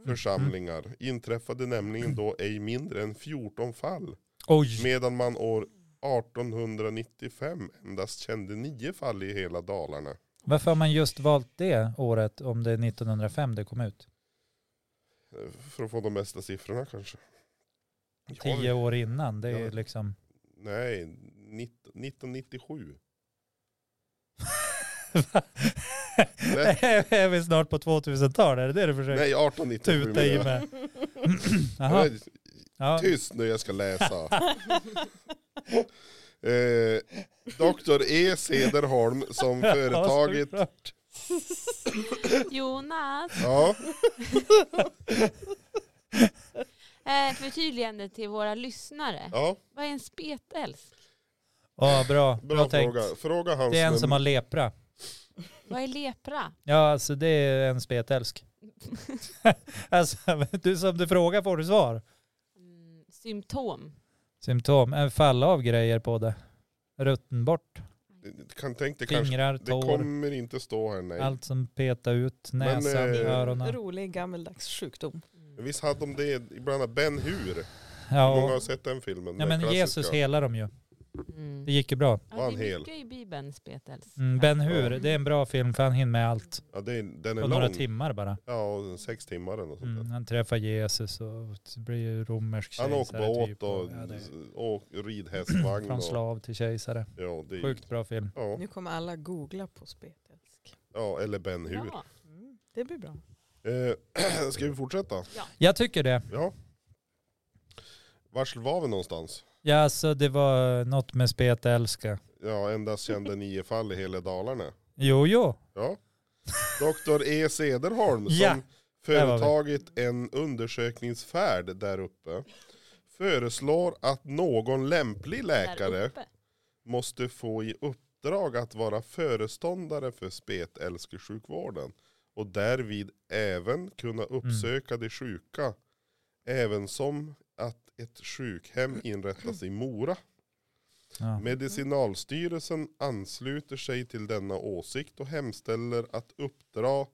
A: församlingar inträffade nämligen då ej mindre än 14 fall.
B: Oj,
A: Medan man år 1895 endast kände 9 fall i hela Dalarna.
B: varför har man just valt det året om det är 1905 det kom ut?
A: Eh, För att få de bästa siffrorna kanske. Ja,
B: Tio år innan, det är
A: Ja.
B: ju liksom...
A: Nej, 19, 1997. Nej.
B: är vi snart på 2000-tal? Är det det du försöker
A: Nej, 1897.
B: tuta i
A: menar jag.
B: med? Jaha,
A: Nej,
B: ja.
A: Tyst nu, jag ska läsa. eh, Dr. E. Sederholm som företaget...
B: Ja, såklart.
D: Jonas,
A: Ja,
D: eh, ett förtydligande till våra lyssnare.
A: ja
D: Vad är en spetälsk?
B: Ja, bra.
A: bra
B: bra tänkt.
A: fråga. Fråga han
B: Det är en som
A: är-
B: har lepra.
D: Vad är lepra?
B: Ja, alltså det är en spetälsk. alltså, du som du frågar får du svar.
D: Mm. Symptom.
B: Symptom. En falla av grejer på det. Rutten bort.
A: Kan tänk dig kanske,
B: Fingrar,
A: det
B: tår.
A: kommer inte stå här nej.
B: Allt som petar ut. Näsan,
A: eh,
B: öronen.
C: Rolig gammeldags sjukdom.
D: Mm.
A: Visst hade de det i bland annat Ben Hur? Många
B: Ja,
A: har
B: och,
A: sett den filmen.
B: ja
A: den
B: men Jesus
A: klassiska.
B: helar dem ju.
D: Mm.
B: Det gick ju bra.
D: Ja,
A: Van
D: det är
A: Hel.
D: mycket i Bibeln, Spetels.
B: Mm, ben Hur, det är en bra film för han hinner med allt.
A: Ja, det är, den
B: På
A: är
B: några
A: lång.
B: timmar bara.
A: Ja, och sex timmar eller något sånt där.
B: Mm, han träffar Jesus och det blir ju romersk
A: Han
B: kejsare.
A: åker båt
B: typ.
A: och,
B: Ja, det-
A: och ridhästvagn.
B: Från
A: och,
B: slav till kejsare.
A: ja, det, är-
B: Sjukt bra film.
A: ja,
C: Nu kommer alla googla på spetälsk.
A: ja, eller Ben Hur.
D: Ja.
C: Mm, det blir bra.
A: Eh, ska vi fortsätta?
B: Jag tycker det.
A: Ja. Vars var vi någonstans?
B: Ja, alltså det var något med spetälska.
A: Ja, endast kände nio fall i hela Dalarna.
B: Jo, jo.
A: Ja. Dr. E. Sederholm som
B: Ja, där var vi.
A: företagit en undersökningsfärd där uppe föreslår att någon lämplig
D: Där
A: läkare
D: uppe.
A: måste få i uppdrag att vara föreståndare för spetälskesjukvården och därvid även kunna uppsöka de sjuka även som att ett sjukhem inrättas i Mora.
B: Ja.
A: Medicinalstyrelsen ansluter sig till denna åsikt och hemställer att uppdrag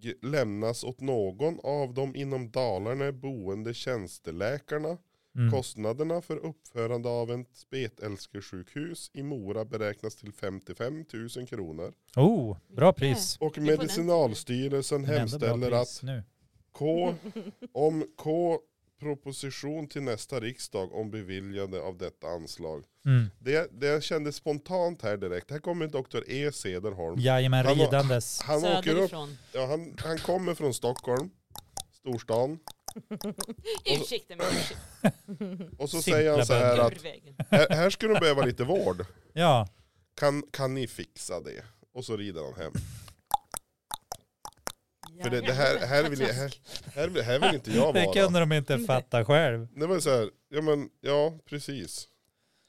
A: g- lämnas åt någon av de inom Dalarna boende tjänsteläkarna.
B: Mm.
A: Kostnaderna för uppförande av ett spetälskesjukhus i Mora beräknas till 55 000 kronor.
B: Oh, bra pris.
A: Och
D: den tiden.
A: Medicinalstyrelsen
B: Men ändå bra
A: hemställer
B: pris
A: att
B: Nu.
A: K, om K proposition till nästa riksdag om beviljande av detta anslag
B: Mm.
A: det, det jag kände spontant här direkt, här kommer Dr. E. Sederholm.
B: Jajamän,
A: Han var-
B: ridandes.
A: Han, åker upp,
D: Söderifrån.
A: ja, han, han kommer från Stockholm, storstan.
D: Ursäkta mig, ursäkta.
A: Och så
B: Simpla
A: säger han så här
B: bönder.
A: att
D: Ur vägen.
A: här, här skulle de behöva lite vård.
B: Ja,
A: Kan, kan ni fixa det? Och så rider han hem. För det, det här, här, vill, jag- här, här, vill, här vill inte jag
B: det
A: vara.
B: kunde de inte fatta själv.
A: Det var så här, ja men ja precis.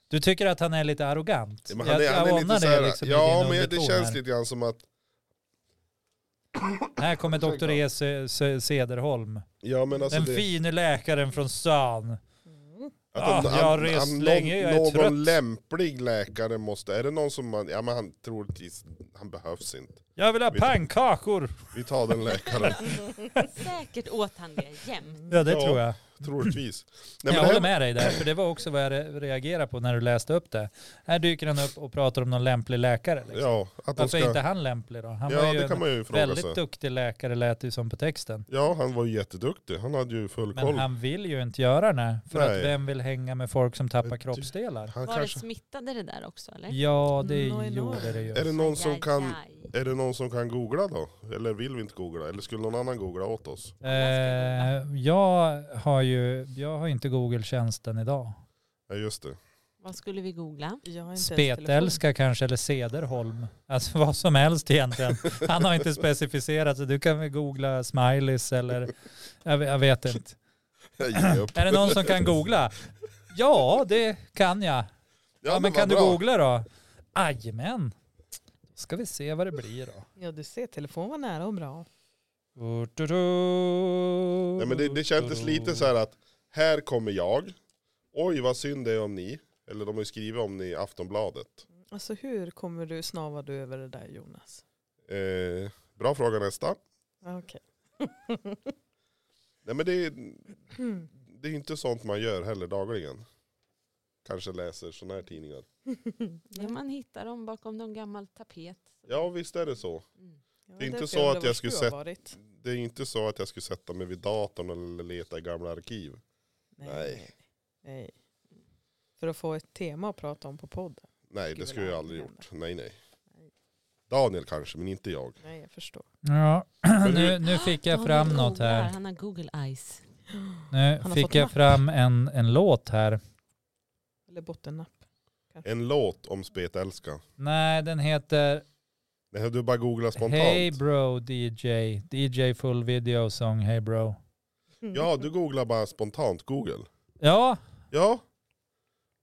B: Du tycker att han är lite arrogant?
A: Ja, men han är,
B: jag
A: han är
B: anar
A: lite så här,
B: det liksom i
A: ja
B: din
A: men det
B: underton
A: känns
B: här.
A: lite grann som att,
B: Här kommer doktor E. Se- Se- Sederholm.
A: ja men alltså
B: Den
A: det,
B: fine läkaren från stan.
C: Mm.
A: Att om,
B: Ah, jag har
A: om-
B: rest
A: om
B: länge, jag är
A: någon
B: trött.
A: lämplig läkare måste, är det någon som man, ja men han troligtvis, han behövs inte.
B: Jag vill ha
A: Vet-
B: pannkakor!
A: Vi tar den läkaren,
D: Säkert åt han det jämt.
B: Ja det
A: Ja,
B: tror jag.
A: troligtvis.
B: Men
A: Nej, men
B: jag
A: det
B: håller
A: här,
B: med dig där, för det var också vad jag re- reagerade på när du läste upp det. Här dyker han upp och pratar om någon lämplig läkare. Liksom.
A: ja, att de
B: Varför
A: ska,
B: är inte han lämplig då? Han var
A: ja
B: ju
A: det kan
B: en
A: man ju fråga
B: väldigt
A: sig.
B: duktig läkare lät det ju som på texten.
A: Ja, han var ju jätteduktig, han hade ju full
B: Men
A: koll. Han,
B: han vill ju inte göra det. För
A: Nej. Eh,
B: att vem vill hänga med folk som tappar
A: Men du-
B: kroppsdelar?
D: Var det
A: kanske,
D: smittade det där också eller?
B: Ja, det
C: Mm, Nå, nå.
B: gjorde det
A: är
B: ju.
A: det någon
D: Aj,
A: som
D: aj,
A: kan,
D: aj.
A: är det någon som kan googla då? Eller vill vi inte googla? Eller skulle någon annan googla åt oss?
B: Eh, jag har ju jag har inte Google-tjänsten idag.
A: Ja just det.
D: Vad skulle vi googla?
C: Jag har inte ens telefon.
B: Spetälska kanske eller Sederholm. Alltså vad som helst egentligen. Han har inte specificerat så du kan väl googla smileys eller jag, ve- jag vet inte.
A: Jag ger upp.
B: Är det någon som kan googla? Ja, det kan jag. Ja, men
A: vad
B: kan du
A: bra.
B: googla då? Jajamän. Då ska vi se vad det blir då.
C: Ja du ser, telefon var nära och bra.
A: Nej, men det, det kändes lite så här att här kommer jag. Oj vad synd det är om ni. Eller de har ju skrivit om ni i Aftonbladet.
C: Alltså hur kommer du, snavar du över det där Jonas?
A: Eh, bra fråga nästa.
C: Okej.
A: Nej men det,
C: Mm.
A: det är ju inte sånt man gör heller dagligen. Kanske läser sådana här tidningar.
D: Ja, man hittar dem bakom någon gammal tapet.
A: Ja visst är det så.
D: Mm.
C: Ja,
A: Det är inte
C: därför
A: så
C: undrar
A: att
C: vart
A: jag skulle
C: du har
A: sett-
C: varit.
A: Det är ju inte så att jag skulle sätta mig vid datorn eller leta i gamla arkiv. Nej.
C: Nej. nej. För att få ett tema att prata om på podden.
A: Nej det
C: Skulle
A: skulle jag
C: aldrig
A: aldrig
C: hända.
A: gjort. Nej nej.
C: Nej.
A: Daniel kanske men inte jag.
C: Nej, jag förstår.
B: Ja, nu,
A: hur-
B: nu fick jag
D: Han
B: fram
D: googlar,
B: något här.
D: Han har Google Eyes.
B: Nu
C: Han har
B: fick
C: fått
B: jag
C: napp.
B: fram en, en låt här.
C: Eller bottennapp.
A: En låt om spetälska.
B: Nej, den heter
A: Nej du bara googlar spontant.
B: Hey bro DJ. DJ full video song Hey bro.
A: Ja du googlar bara spontant Google.
B: Ja,
A: Ja.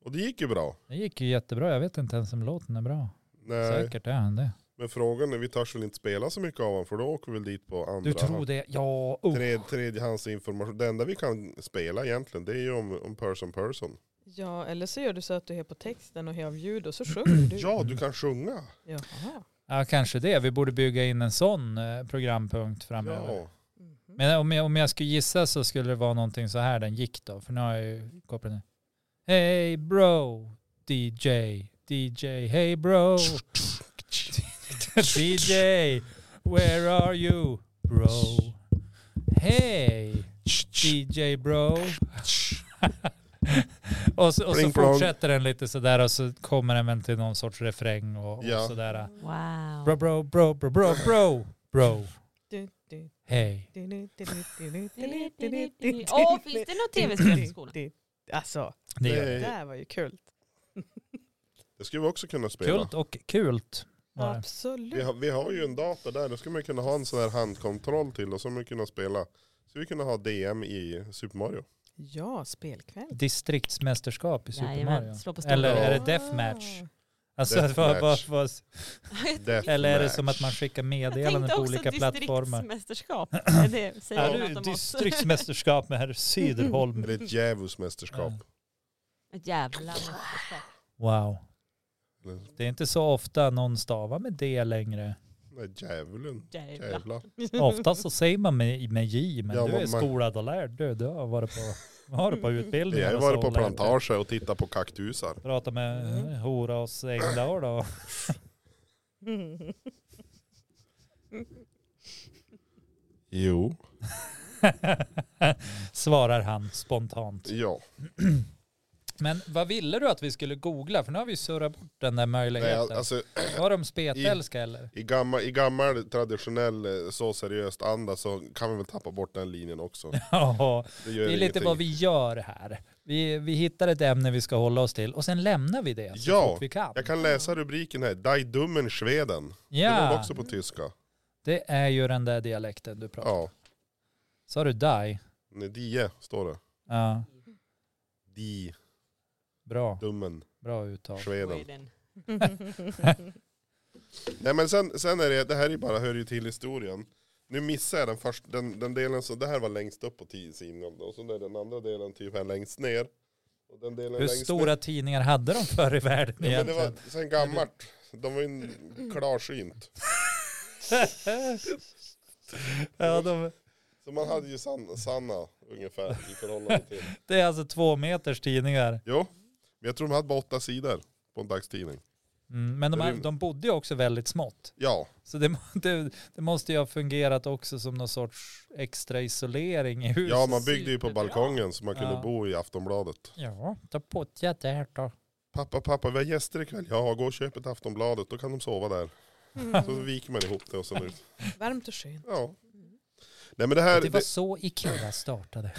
A: Och det gick ju bra.
B: det gick ju jättebra. Jag vet inte ens om låten är bra.
A: Nej.
B: Säkert är han det.
A: Men frågan är, vi törs väl inte spela så mycket av honom för då åker vi väl dit på andra
B: Du tror det? Ja, oh.
A: Tredje, tredjehandsinformation. Det enda vi kan spela egentligen det är ju om, om person person.
C: Ja, eller så gör du så att du är på texten och har ljud och så sjunger du.
A: Ja, du kan sjunga.
C: Jaha.
B: ja, kanske det. Vi borde bygga in en sån eh, programpunkt framöver.
A: Ja.
C: Mhm.
B: Men om jag, om jag skulle gissa så skulle det vara någonting så här den gick då. För nu har jag ju kopplat ner. Hey bro, DJ, DJ, hey bro. DJ, where are you, bro? Hey, DJ bro. och så, och så
A: Pling plong.
B: fortsätter den lite sådär och så kommer den väl till någon sorts refräng och, och
A: Ja.
B: sådär.
D: Wow.
B: Bro, bro, bro, bro, bro, bro, bro,
C: Du, du,
B: hey.
C: du, du, du, du, du, du,
D: Åh,
C: du, du, du, du, du.
D: finns det något tv-spel på skolan?
C: Du, du. Alltså,
B: Det gör
C: det
A: Det,
C: där var ju kul.
A: det skulle vi också kunna spela.
B: Kult och kult. var det.
A: Vi
C: Absolut.
A: har, vi har ju en dator där, då skulle man kunna ha en sån här handkontroll till och så skulle man kunna spela. Så vi kunna ha DM i Super Mario.
C: Ja, spelkväll.
B: Distriktsmästerskap i Super
D: Jajamän,
B: Mario.
D: slå på stora.
B: Eller är det
A: Ja.
B: deathmatch? Alltså,
A: Deathmatch.
B: vad- vad- vad-
D: Jag tänkte-
B: eller är det
A: Deathmatch.
B: som att man skickar meddelanden på olika plattformar?
D: distriktsmästerskap. Är det, säger
B: Är
D: det
B: du
D: något om oss?
B: distriktsmästerskap med herr Syderholm?
A: Eller ett djävulsmästerskap.
D: Ett jävla mästerskap.
B: Wow.
A: Eller,
B: Det är inte så ofta någon stavar med D längre.
A: nej, djävulen.
D: Jävla.
A: Jävla.
B: Ofta så säger man med, med J, men
A: Ja,
B: du är
A: men man-
B: skolad och lärd. Du, du har varit på, har du på utbildning.
A: Jag har ju varit på plantager och tittat på kaktusar.
B: Prata med
C: Mm.
B: eh, Hora och Engdahl då.
A: Jo.
B: Svarar han spontant.
A: Ja.
B: Men vad ville du att vi skulle googla? För nu har vi surrat bort den
A: Nej,
B: där möjligheten.
A: alltså,
B: Var de spetälska eller?
A: i, gammal, I gammal traditionell eh, så seriöst anda så kan vi väl tappa bort den linjen också.
B: Ja,
A: Det,
B: det
A: gör
B: är lite
A: ingenting.
B: vad vi gör här. Vi, vi hittar ett ämne vi ska hålla oss till och sen lämnar vi det så
A: Ja,
B: fort vi kan.
A: Jag kan läsa rubriken här. Die Dummen Schweden. Det var väl
B: Ja,
A: också på tyska.
B: det är ju den där dialekten du pratar om.
A: Ja.
B: Sa du die?
A: Nej, Die står det.
B: Ja,
A: Die
B: bra.
A: Dummen
B: Bra uttal.
A: Schweden.
D: Sweden.
A: Nej men sen, sen är det, det här är ju bara, hör ju till historien. Nu missar jag den första, den, den delen som, det här var längst upp på tidsidan och så är den andra delen typ här längst ner. Och den delen
B: Hur
A: längst
B: stora tidningar hade de förr i världen
A: ner. Ja, men det
B: egentligen?
A: var sen gammalt. De var ju en- klarsynt.
B: ja, de,
A: Så man hade ju san, sanna ungefär i förhållande till.
B: det är alltså två meters tidningar.
A: Jo, men jag tror de hade bara åtta sidor på en dagstidning.
B: Mm, men de, de bodde ju också väldigt smått.
A: Ja,
B: Så det, det, det måste ju ha fungerat också som någon sorts extra isolering i huset.
A: ja man byggde ju på
D: superbra.
A: balkongen så man kunde
B: Ja.
A: bo i Aftonbladet.
B: Ja, ta pottja där då.
A: Pappa, pappa, vi har gäster ikväll. Ja, gå och köp ett Aftonbladet, då kan de sova där. Så viker man ihop det och sen ut.
C: Varmt och skönt.
A: Ja. Nej men det här,
B: Det var
A: det,
B: så Ikea startade.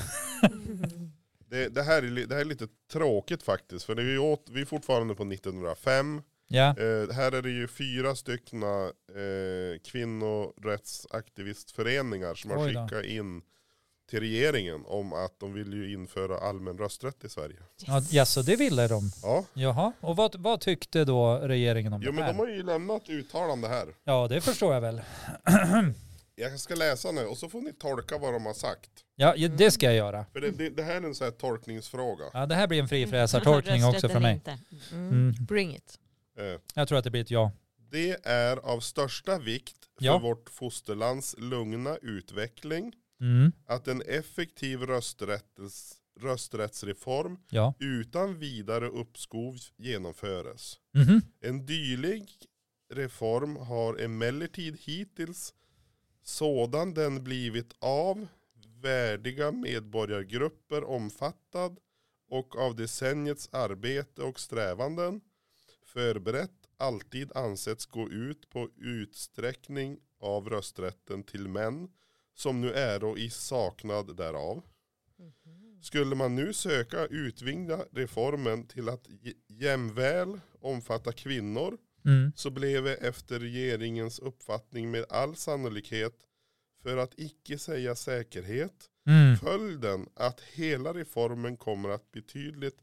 A: det, det, här är, li- det här är lite tråkigt faktiskt. För det är ju åt, vi är fortfarande på 1905.
B: Ja,
A: Eh, här är det ju fyra stycken eh, kvinnorättsaktivistföreningar som har
B: Oj då.
A: skickat in till regeringen om att de vill ju införa allmän rösträtt i Sverige.
B: ja
D: Yes.
B: ja, så det ville de.
A: Ja,
B: Jaha, och vad, vad tyckte då regeringen om
A: jo,
B: det
A: men
B: här?
A: de har ju lämnat uttalande här.
B: Ja, det förstår jag väl.
A: Jag ska läsa nu och så får ni tolka vad de har sagt.
B: Ja, ja, det ska jag göra.
A: För det, det, det här är en sån här tolkningsfråga.
B: Ja, det här blir en
D: Mm.
B: frifräsartolkning också
D: Rösträtt
B: för
D: eller
B: mig.
D: inte.
B: Mm.
C: Bring it.
A: Eh,
B: Jag tror att det blir ett ja.
A: Det är av största vikt för
B: Ja.
A: vårt fosterlands lugna utveckling
B: Mm.
A: att en effektiv rösträttes, rösträttsreform
B: Ja.
A: utan vidare uppskov genomföres.
B: Mhm.
A: En dylik reform har emellertid hittills sådan den blivit av värdiga medborgargrupper omfattad och av decenniets arbete och strävanden förberett alltid ansetts gå ut på utsträckning av rösträtten till män som nu är i saknad därav. Skulle man nu söka utvinga reformen till att j- jämväl omfatta kvinnor
B: Mm.
A: så blev efter regeringens uppfattning med all sannolikhet, för att icke säga säkerhet,
B: Mm.
A: följden att hela reformen kommer att betydligt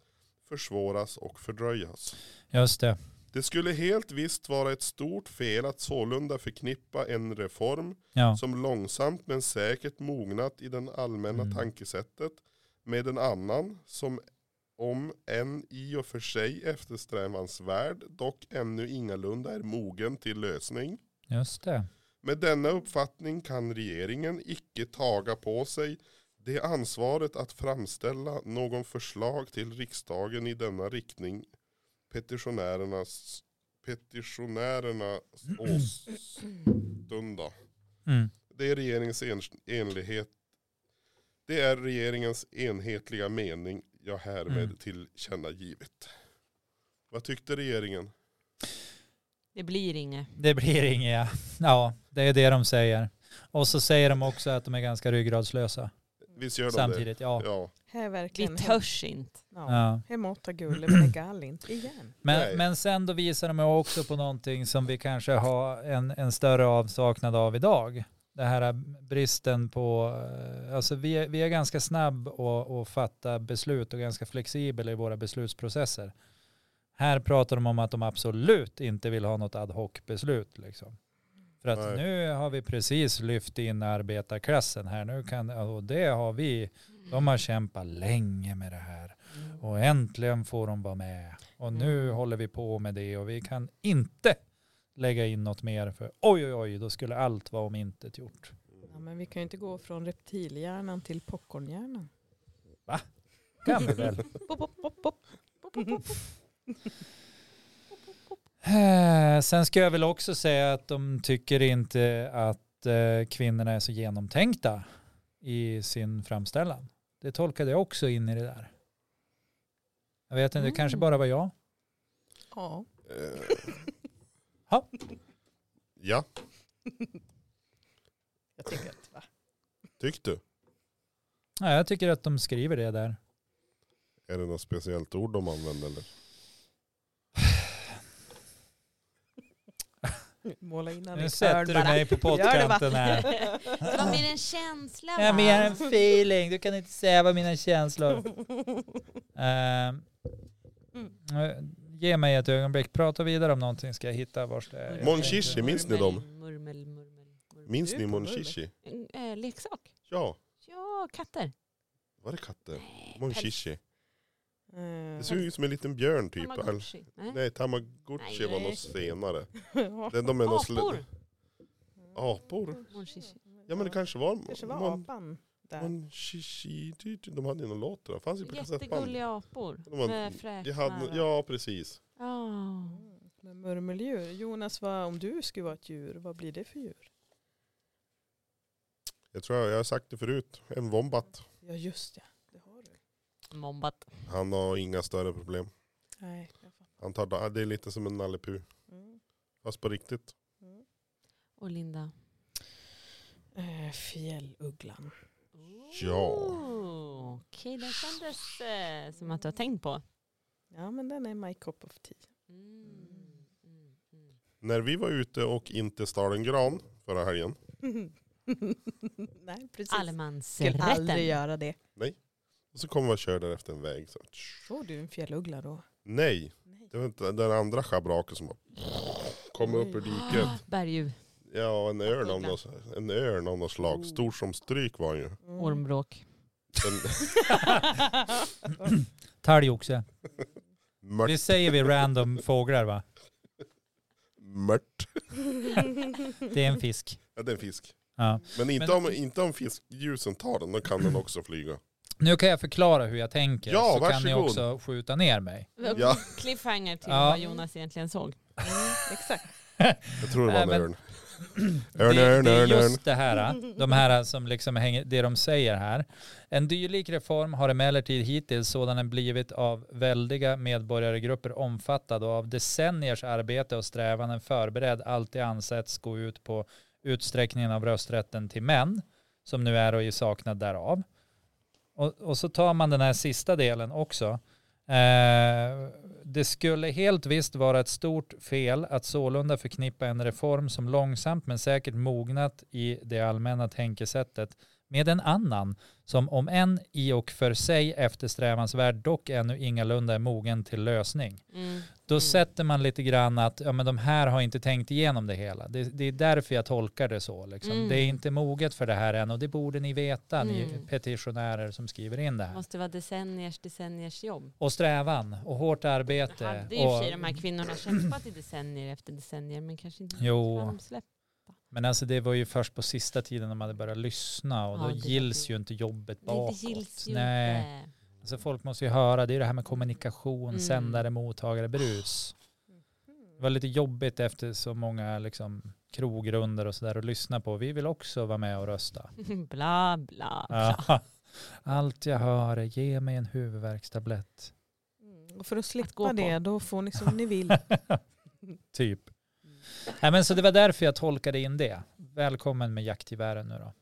A: försvåras och fördröjas.
B: Just det.
A: Det skulle helt visst vara ett stort fel att sålunda förknippa en reform
B: Ja.
A: som långsamt men säkert mognat i den allmänna
B: Mm.
A: tankesättet med en annan som om en i och för sig eftersträvansvärd dock ännu ingalunda är mogen till lösning.
B: Just det.
A: Med denna uppfattning kan regeringen icke taga på sig det ansvaret att framställa någon förslag till riksdagen i denna riktning petitionärernas petitionärerna åstunda.
B: Mm.
A: Det är regeringens en, enlighet. Det är regeringens enhetliga mening jag härmed
B: Mm.
A: tillkännagivit. Vad tyckte regeringen?
D: Det blir inget.
B: Det blir inget, ja. ja. Det är det de säger. Och så säger de också att de är ganska ryggradslösa.
A: Visst gör de
B: Samtidigt, ja.
A: det? Ja.
C: Här är
D: Vi
C: verkligen hem,
D: törs inte.
C: ja,
B: ja.
C: hemåtta gulle med gallint igen.
A: Nej.
B: Men, men sen då visar de ju också på någonting som vi kanske har en, en större avsaknad av idag. Det här eh, bristen på, eh, alltså vi är, vi är ganska snabb att, att fatta beslut och ganska flexibel i våra beslutsprocesser. Här pratar de om att de absolut inte vill ha något ad hoc-beslut. Liksom. För att
A: Nej.
B: nu har vi precis lyft in arbetarklassen här. Nu kan, och det har vi, de har kämpat länge med det här. Och äntligen får de vara med. Och nu
D: Mm.
B: håller vi på med det och vi kan inte lägga in något mer för oj oj oj, då skulle allt vara om intet gjort.
C: Ja, men vi kan ju inte gå från reptilhjärnan till popcornhjärnan.
B: Kan vi väl?
C: Pop, pop, pop, pop. Pop, pop, pop, pop.
B: Eh, Sen ska jag väl också säga att de tycker inte att eh, kvinnorna är så genomtänkta i sin framställan. Det tolkade jag också in i det där. Jag vet inte, det kanske
C: Mm.
B: bara var jag.
C: Ja.
A: Eh,
B: Ha.
A: Ja,
C: Jag tycker att, va?
A: tyckte du?
B: Ja, jag tycker att de skriver det där.
A: Är det något speciellt ord de använder eller?
C: Måla in han i
B: Nu
C: ett
B: sätter
C: hörn
B: du
C: bara.
B: mig på
C: Gör det, va?
B: pottkanten här.
D: Det var mer en känsla va?
B: Jag mer en feeling. Du kan inte säga vad mina känslor... Ehm, eh, ge mig ett ögonblick. Prata vidare om någonting ska jag hitta vars det är.
A: Mon Chichi,
B: Jag
A: minns ni dem?
D: Murmel, murmel, murmel.
A: Minns
C: Det är
A: ni
C: på
A: Mon
C: munnen.
A: Chichi?
D: En, eh, leksak.
A: Ja,
D: Ja, katter.
A: var det katter?
D: Nej,
A: Mon
D: päls.
A: Chichi.
C: Eh,
A: Det ser ut som en liten björn typ. eller?
D: Tamagotchi. Nej.
A: Nej, Tamagotchi
D: Nej,
A: var
D: nej.
A: något senare.
C: ja.
A: Den, de är någon sl-
D: Apor.
A: Apor?
D: Mon Chichi.
A: Ja men det kanske var,
C: kanske var
A: Mon,
C: apan där.
A: Mon Chichi. du- du- De hade ju någon låt då. Det fanns ju på kassettband.
D: Jättegulliga apor.
A: De var-
D: Med
A: De
D: fräknar.
A: hade, ja precis.
D: Ja.
C: Mm, Med murmeldjur. Jonas, vad, om du skulle vara ett djur, vad blir det för djur?
A: Jag tror jag, jag har sagt det förut. En Wombat.
C: Ja just ja, det har du.
D: Mombat.
A: Han har inga större problem.
C: Nej, jag fattar.
A: Han tar, da- det är lite som en Nalle Puh,
C: Mm,
A: Fast på riktigt.
C: mm.
D: Och Linda.
C: Eh, fjällugglan.
A: Ja.
D: Ooh, Okej, den kändes eh, som att du har tänkt på.
C: Ja men den är my cup of tea.
D: Mm. Mm. Mm.
A: När vi var ute och inte stal en gran förra helgen.
C: Nej precis. Skulle aldrig
D: Allemansrätten.
C: göra det.
A: Och så kom vi och körde efter en väg. Så.
C: Såg du en fjälluggla då?
A: Nej,
C: Nej.
A: det var inte den andra schabraken som bara kom upp ur
D: Ah,
A: diket.
D: Berguv,
A: Ja, en örn av något, en örn av något slag. Stor som stryk var han ju.
C: Mm.
D: ormbråk.
A: Den
B: Talgoxe.
A: mört,
B: Vi säger vi random fåglar va?
A: mört.
C: Mm.
B: Det är en fisk.
A: Ja, det är en fisk.
B: Ja.
A: Men inte,
B: Men-
A: om, inte om fiskdjusen tar den, då kan den också flyga.
B: Nu kan jag förklara hur jag tänker
A: Ja,
B: så kan ni
A: varsågod.
B: också skjuta ner mig.
A: Ja.
D: Cliffhanger till
B: Ja.
D: vad Jonas egentligen såg.
C: Exakt.
A: Jag tror det var en
B: Nej, men-
A: örn. Örn,
B: det,
A: örn,
B: det är
A: örn, örn.
B: just det här, de här som liksom hänger, det de säger här. En dylik reform har emellertid hittills sådan den blivit av väldiga medborgargrupper omfattad och av decenniers arbete och strävanden förberedd alltid ansetts gå ut på utsträckningen av rösträtten till män som nu är och i saknad därav. Och, och så tar man den här sista delen också. Eh, det skulle helt visst vara ett stort fel att sålunda förknippa en reform som långsamt men säkert mognat i det allmänna tänkesättet med en annan som om en i och för sig eftersträvansvärd dock ännu ingalunda är mogen till lösning.
D: Mm.
B: Då
D: Mm.
B: sätter man lite grann att ja, men de här har inte tänkt igenom det hela. Det, det är därför jag tolkar det så. Liksom.
D: Mm.
B: Det är inte moget för det här än och det borde ni veta, ni
D: Mm.
B: petitionärer som skriver in det här.
D: Måste vara decenniers, decenniers jobb.
B: Och strävan och hårt arbete.
D: Hade ju i och för sig de
B: eh, och,
D: här kvinnorna kämpat i decennier efter decennier men kanske inte
B: Jo.
D: framsläpp.
B: men alltså det var ju först på sista tiden de hade börjat lyssna och
D: Ja,
B: då
D: det var
B: gills
D: det.
B: ju inte jobbet
D: Nej,
B: bakåt.
D: det gills ju
B: Nej.
D: inte.
B: Alltså folk måste ju höra, det är det här med kommunikation,
D: Mm.
B: sändare, mottagare, brus. Det var lite jobbigt efter så många liksom, krogrunder och sådär att lyssna på. Vi vill också vara med och rösta.
D: eh, bla, bla, bla.
B: Ja. Allt jag hör är ge mig en huvudvärkstablett.
C: Mm. Och för att slippa
D: gå på.
C: det, då får ni som ni vill.
B: typ. Nej, men så det var därför jag tolkade in det. Välkommen med jaktgevären nu då.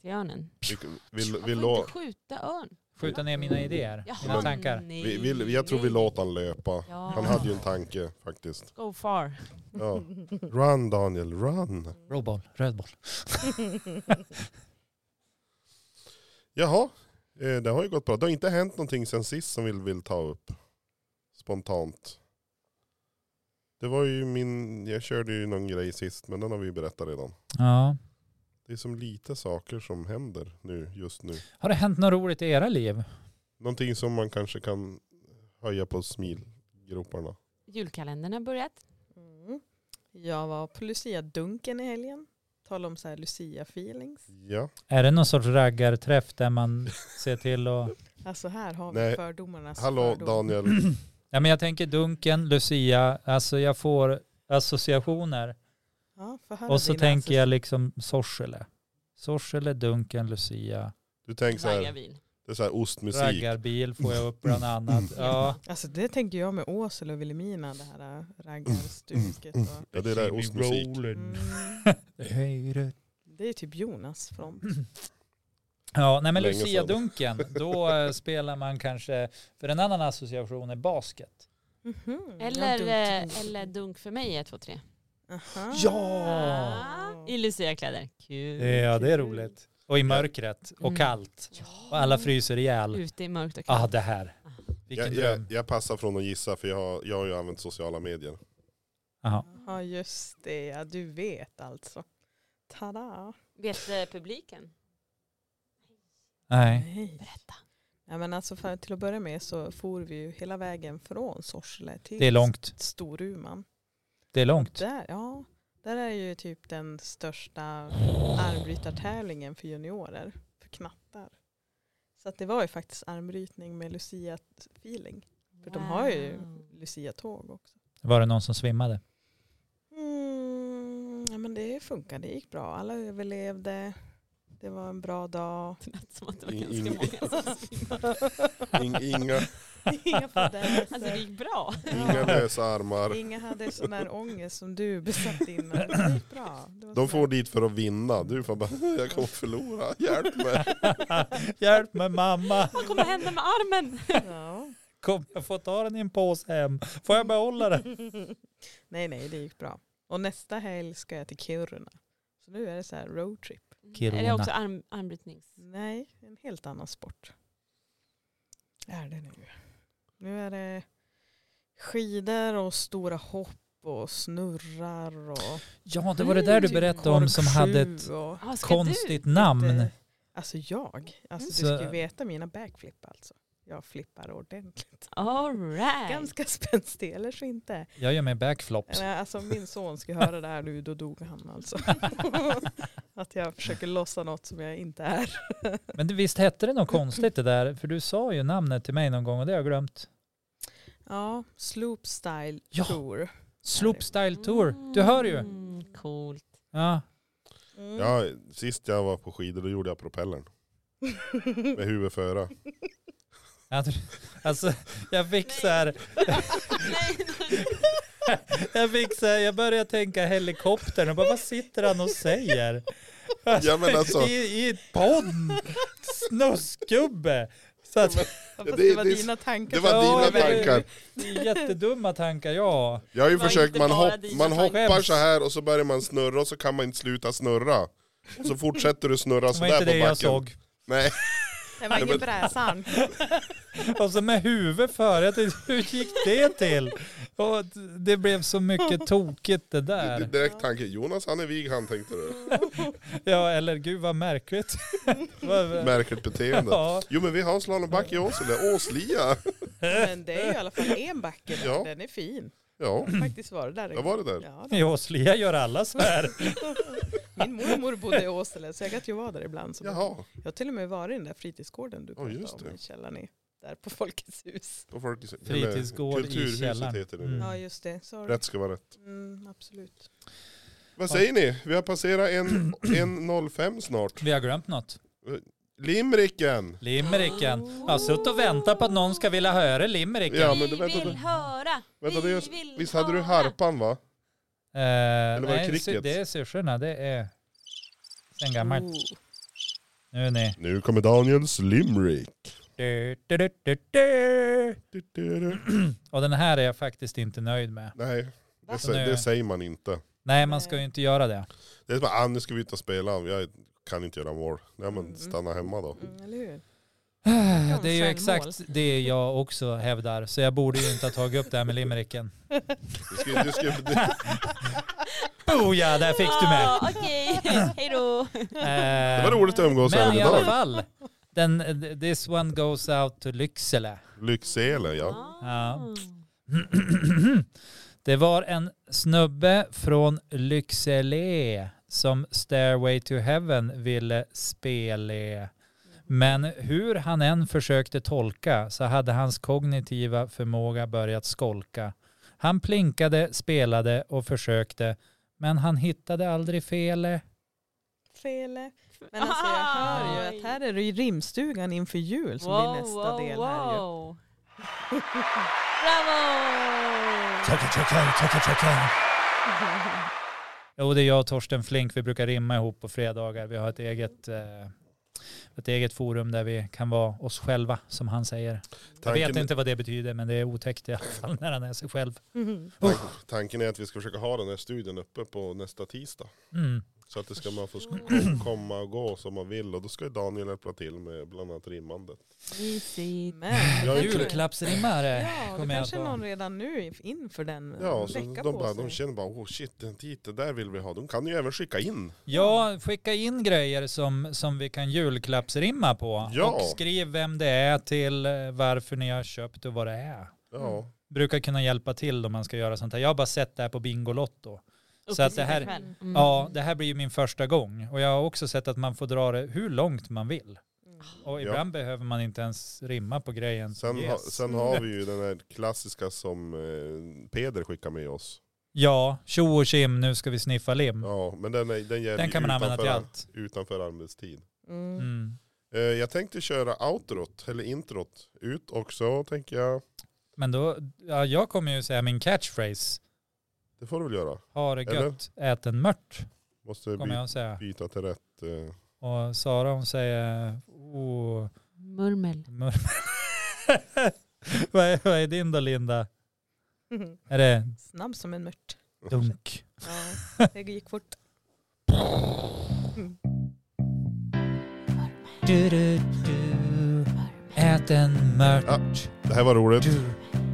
D: Till örnen.
A: Vi, vi,
D: Man
A: vi,
D: får
A: lå-
D: inte skjuta örn.
B: Skjuta ner mina
D: Mm.
B: idéer, mina
D: Jaha,
B: tankar.
D: nej,
A: vi, vi, jag tror vi
D: nej.
A: låter han löpa.
D: Ja.
A: Han hade ju en tanke faktiskt.
D: Go far.
A: Ja. Run Daniel, run.
B: Råboll, rödboll.
A: Jaha, eh, det har ju gått bra. Det har inte hänt någonting sen sist som vi vill ta upp. Spontant. Det var ju min, jag körde ju någon grej sist men den har vi ju berättat redan.
B: Ja.
A: Det är som lite saker som händer nu, just nu.
B: Har det hänt något roligt i era liv?
A: Någonting som man kanske kan höja på smilgroparna.
D: Julkalendern har börjat.
C: Mm. Jag var på Lucia-dunken i helgen. Tala om så här Lucia-feelings.
A: Ja.
B: Är det någon sorts raggarträff där man ser till att
C: Alltså här har vi
A: Nej.
C: fördomarnas
A: Hallå
C: Alltså, fördom.
A: Daniel.
B: Ja, men jag tänker Dunken, Lucia, alltså jag får associationer.
C: Ja, få höra
B: Och så
C: dina
B: tänker jag
C: assist-
B: liksom Sorsele. Sorsele, Dunken, Lucia.
A: Du tänker så här,
D: Raggarvin.
A: det är så här ostmusik.
B: Raggarbil får jag upp bland annat.
D: Mm,
B: Ja.
C: Alltså det tänker jag med Åsele och Vilhelmina, det här äh, raggarstuket. Och...
A: Mm. Ja det är där ostmusik.
C: Mm. Det är typ Jonas från.
B: Ja, nej men
A: Länge sedan.
B: Lucia-dunken, då eh, spelar man kanske, för en annan association är basket.
C: Mhm,
D: Eller,
C: ja,
D: eh,
C: dumt.
D: eller dunk för mig 1, 2, 3.
C: Aha.
B: Ja!
D: Ah, I luciakläder. Kul.
B: Ja, det är
D: kul.
B: roligt. Och i mörkret och
D: Mm.
B: kallt. Och alla fryser ihjäl.
D: Ute i mörkt och
B: Ah,
D: kallt.
B: det här.
A: Jag,
B: Vilken
A: jag,
B: dröm.
A: jag passar från att gissa för jag har, jag har ju använt sociala medier.
B: Jaha.
C: Ja just det, ja, du vet alltså. Tada!
D: Vet eh, publiken?
B: Nej.
C: Nej.
D: Berätta.
C: Ja, men alltså för, till att börja med så for vi ju hela vägen från Sorsele till
B: Det är långt.
C: Storuman.
B: Det är långt.
C: Där, ja, där är ju typ den största armbrytartävlingen för juniorer, för knattar. Så att det var ju faktiskt armbrytning med Lucia-feeling. För de har ju Lucia-tåg också.
B: Var det någon som svimmade?
C: Mm, ja, men det funkade, det gick bra. Alla överlevde. Det var en bra dag.
D: Det lät som att det var
A: In-
D: ganska
A: in-
D: många som svimmade.
A: In, inga,
C: Inga fadäser.
D: Alltså det gick bra.
A: inga lösa armar.
C: Inga hade sån där ångest som du besatt innan. Det gick bra. Det var
A: De
C: sån
A: får dit för att vinna. Du får bara, jag kommer förlora. Hjälp mig.
B: Hjälp mig mamma.
D: Vad kommer hända med armen?
C: där- Ja.
B: Kommer jag få ta den i en påse hem? Får jag behålla den?
C: Nej, nej, det gick bra. Och nästa helg ska jag till Kiruna. Så nu är det så här roadtrip.
B: Kiruna.
D: Är det också arm, armbrytnings?
C: Nej, en helt annan sport. Är det nu. Nu är det skidor och stora hopp och snurrar och
B: Ja, det var det där du berättade om som
C: korksju
B: hade ett
C: och,
D: Ah, ska
B: konstigt namn.
C: eh, Alltså jag, alltså
B: Mm.
C: du
B: Så-
C: ska ju veta mina backflip alltså. Jag flippar ordentligt.
D: Du? All right.
C: Ganska spänstig, eller så inte.
B: Jag gör mig backflops.
C: Nej, alltså om min son skulle höra det här nu, då dog han alltså. att jag försöker lossa något som jag inte är.
B: Men det- visst hette det något konstigt det där? För du sa ju namnet till mig någon gång och det har jag glömt.
C: Ja, Sloop Style
B: Ja.
C: Tour.
B: Sloop Style Tour. Du hör ju.
D: Mm, coolt.
B: Ja.
C: Mm.
A: Ja, sist jag var på skidor då gjorde jag propellern. Med huvudet före.
B: Jag tr- Alltså, jag fick så här. Jag fick så här, jag började tänka helikoptern och bara vad sitter han och säger?
A: Ja, men alltså-
B: I, i ponn, snuskgubbe. Så att,
C: Ja, fast
A: Det-
C: det var
A: det-
C: dina tankar.
A: Det var dina
B: Ja, men-
A: tankar.
B: jättedumma tankar, ja.
A: Jag har ju
D: Det var
A: försökt,
D: inte
A: man,
D: bara
A: hopp,
D: dina
A: man
D: tankar.
A: hoppar så här och så börjar man snurra och så kan man inte sluta snurra. Och så fortsätter du snurra
B: Det var inte
A: sådär
B: det
A: på
B: jag
A: backen.
B: såg.
A: Nej,
C: Det var ingen bräsan.
B: Och så med huvudet före. Jag tänkte, Hur gick det till? Och det blev så mycket tokigt det
A: det är
B: där.
A: direkt tanke. Jonas han är vig han tänkte du.
B: Ja, eller gud vad märkligt. Vad-
A: Märkligt beteende.
B: Ja,
A: Jo men vi har en slalombacke i Åsele, Åslia.
C: Men det är ju i alla fall en backe där.
A: Ja.
C: Den är fin.
A: Ja,
C: Faktiskt var det där.
A: jag var det där.
C: Ja, då.
B: i Åslia gör alla så här.
C: Min mormor bodde i Åsele så jag kan ju vara där ibland. Så
A: Jaha,
C: Jag har till och med varit i den där fritidsgården du
A: Ja,
C: pratade
A: just det.
C: om i källaren i, där på Folkets hus.
A: på Folkets eller
B: Fritidsgård i
A: Kulturhuset
B: källaren.
A: heter det.
B: Mm.
C: Ja just det, sorry.
A: Rätt ska vara rätt.
C: Mm, absolut.
A: Vad säger ni? Vi har passerat en, en 05 snart.
B: Vi har glömt något.
A: Limericken!
B: Limericken. Jag har suttit och väntat på att någon ska vilja höra limericken.
A: Ja,
D: vi
A: men du- vänta,
D: vill
A: du-
D: höra.
A: Vänta,
D: vi
A: det är,
D: vill
A: visst hade du
D: höra.
A: harpan va?
B: Eh,
A: var det
B: nej,
A: cricket? Mm.
B: sy- det är syrsorna. Det är sen gammalt.
C: Mm,
B: Nu är ni.
A: Nu kommer Daniels limerick.
B: Du, du, du, du, du.
A: Du, du, du.
B: Och den här är jag faktiskt inte nöjd med.
A: Nej, det,
D: Va?
A: sä- det säger man inte.
B: Nej, man ska ju inte göra det.
A: Det är bara, ah, nu ska vi ut och spela, jag kan inte göra mål. Nej men
C: Mm.
A: stanna hemma då.
C: Mm, eller hur?
B: Det är ju
D: självmål.
B: exakt det jag också hävdar, så jag borde ju inte ha tagit upp det här med limericken.
A: Du ska, du ska, det,
B: Boja, där fick du med. Eh,
D: Ja, Okej, hej då.
A: det var roligt att umgås
B: Men
A: även
B: i alla
A: idag.
B: fall, den, this one goes out to Lycksele.
A: Lycksele ja.
D: Ah.
B: Ja. Det var en snubbe från Lycksele som Stairway to Heaven ville spela. Men hur han än försökte tolka så hade hans kognitiva förmåga börjat skolka. Han plinkade, spelade och försökte, men han hittade aldrig felet.
C: Fele. Men alltså jag hör ju
D: Aj.
C: att här är det ju rimstugan inför jul som blir nästa del här ju.
D: wow. Bravo!
B: Jo, det är jag och Torsten Flink. Vi brukar rimma ihop på fredagar. Vi har ett eget, eh, ett eget forum där vi kan vara oss själva, som han säger. Jag vet
A: Tanken,
B: inte vad det betyder, men det är otäckt i alla fall när han är sig själv.
C: Mhm.
A: tanken, tanken är att vi ska försöka ha den här studien uppe på nästa tisdag.
B: Mm.
A: Så att det ska man få sk- kom- komma och gå som man vill. Och då ska ju Daniel hjälpa till med bland annat rimmandet.
D: Mysigt.
C: Men,
A: Jag är ju inte-
B: Julklappsrimmare
C: ja, det
B: kommer jag
C: kanske är
B: på.
C: någon redan nu inf- inför den
A: Ja,
C: ja,
A: så
C: vecka
A: de,
C: på
A: bara,
C: sig.
A: de känner bara, oh shit, den titeln där vill vi ha. De kan ju även skicka in.
B: Ja, skicka in grejer som, som vi kan julklappsrimma på.
A: Ja.
B: Och skriv vem det är till, eh, varför ni har köpt och vad det är.
A: Ja,
B: Brukar kunna hjälpa till om man ska göra sånt här. Jag har bara sett det här på Bingolotto. Så att det här-
D: Mm.
B: Ja, det här blir ju min första gång. Och jag har också sett att man får dra det hur långt man vill.
C: Mm.
B: Och
A: Ja.
B: ibland behöver man inte ens rimma på grejen.
A: sen, ha,
B: Yes.
A: sen har vi ju den här klassiska som eh, Peder skickar med oss.
B: Ja, tjo och tjim, nu ska vi sniffa lim.
A: Ja, men den, är, den gäller
B: Mm. Den kan
A: ju
B: man använda till
A: utanför-
B: allt.
A: utanför arbetstid.
C: Mm.
B: Mm.
A: Eh, jag tänkte köra outrot, eller introt, ut också tänker jag.
B: Men då, ja, jag kommer ju säga min catchphrase.
A: Det får du väl göra.
B: Ha det gött, ät en mört,
A: Måste
B: kommer
A: by,
B: jag att säga.
A: byta till rätt. Eh.
B: Och Sara hon säger, oh,
D: Murmel.
B: mör- vad, är, vad är din då Linda? Är det
C: Snabb som en mört.
B: dunk?
C: Ja, det gick fort.
B: Du, du, du, ät en mört.
A: Ja. Det här var roligt.
B: Du,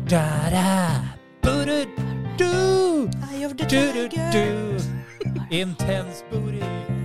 B: da, da, budu, du,
C: Eye of the
B: du, du,
C: tiger.
B: du. Intense booty.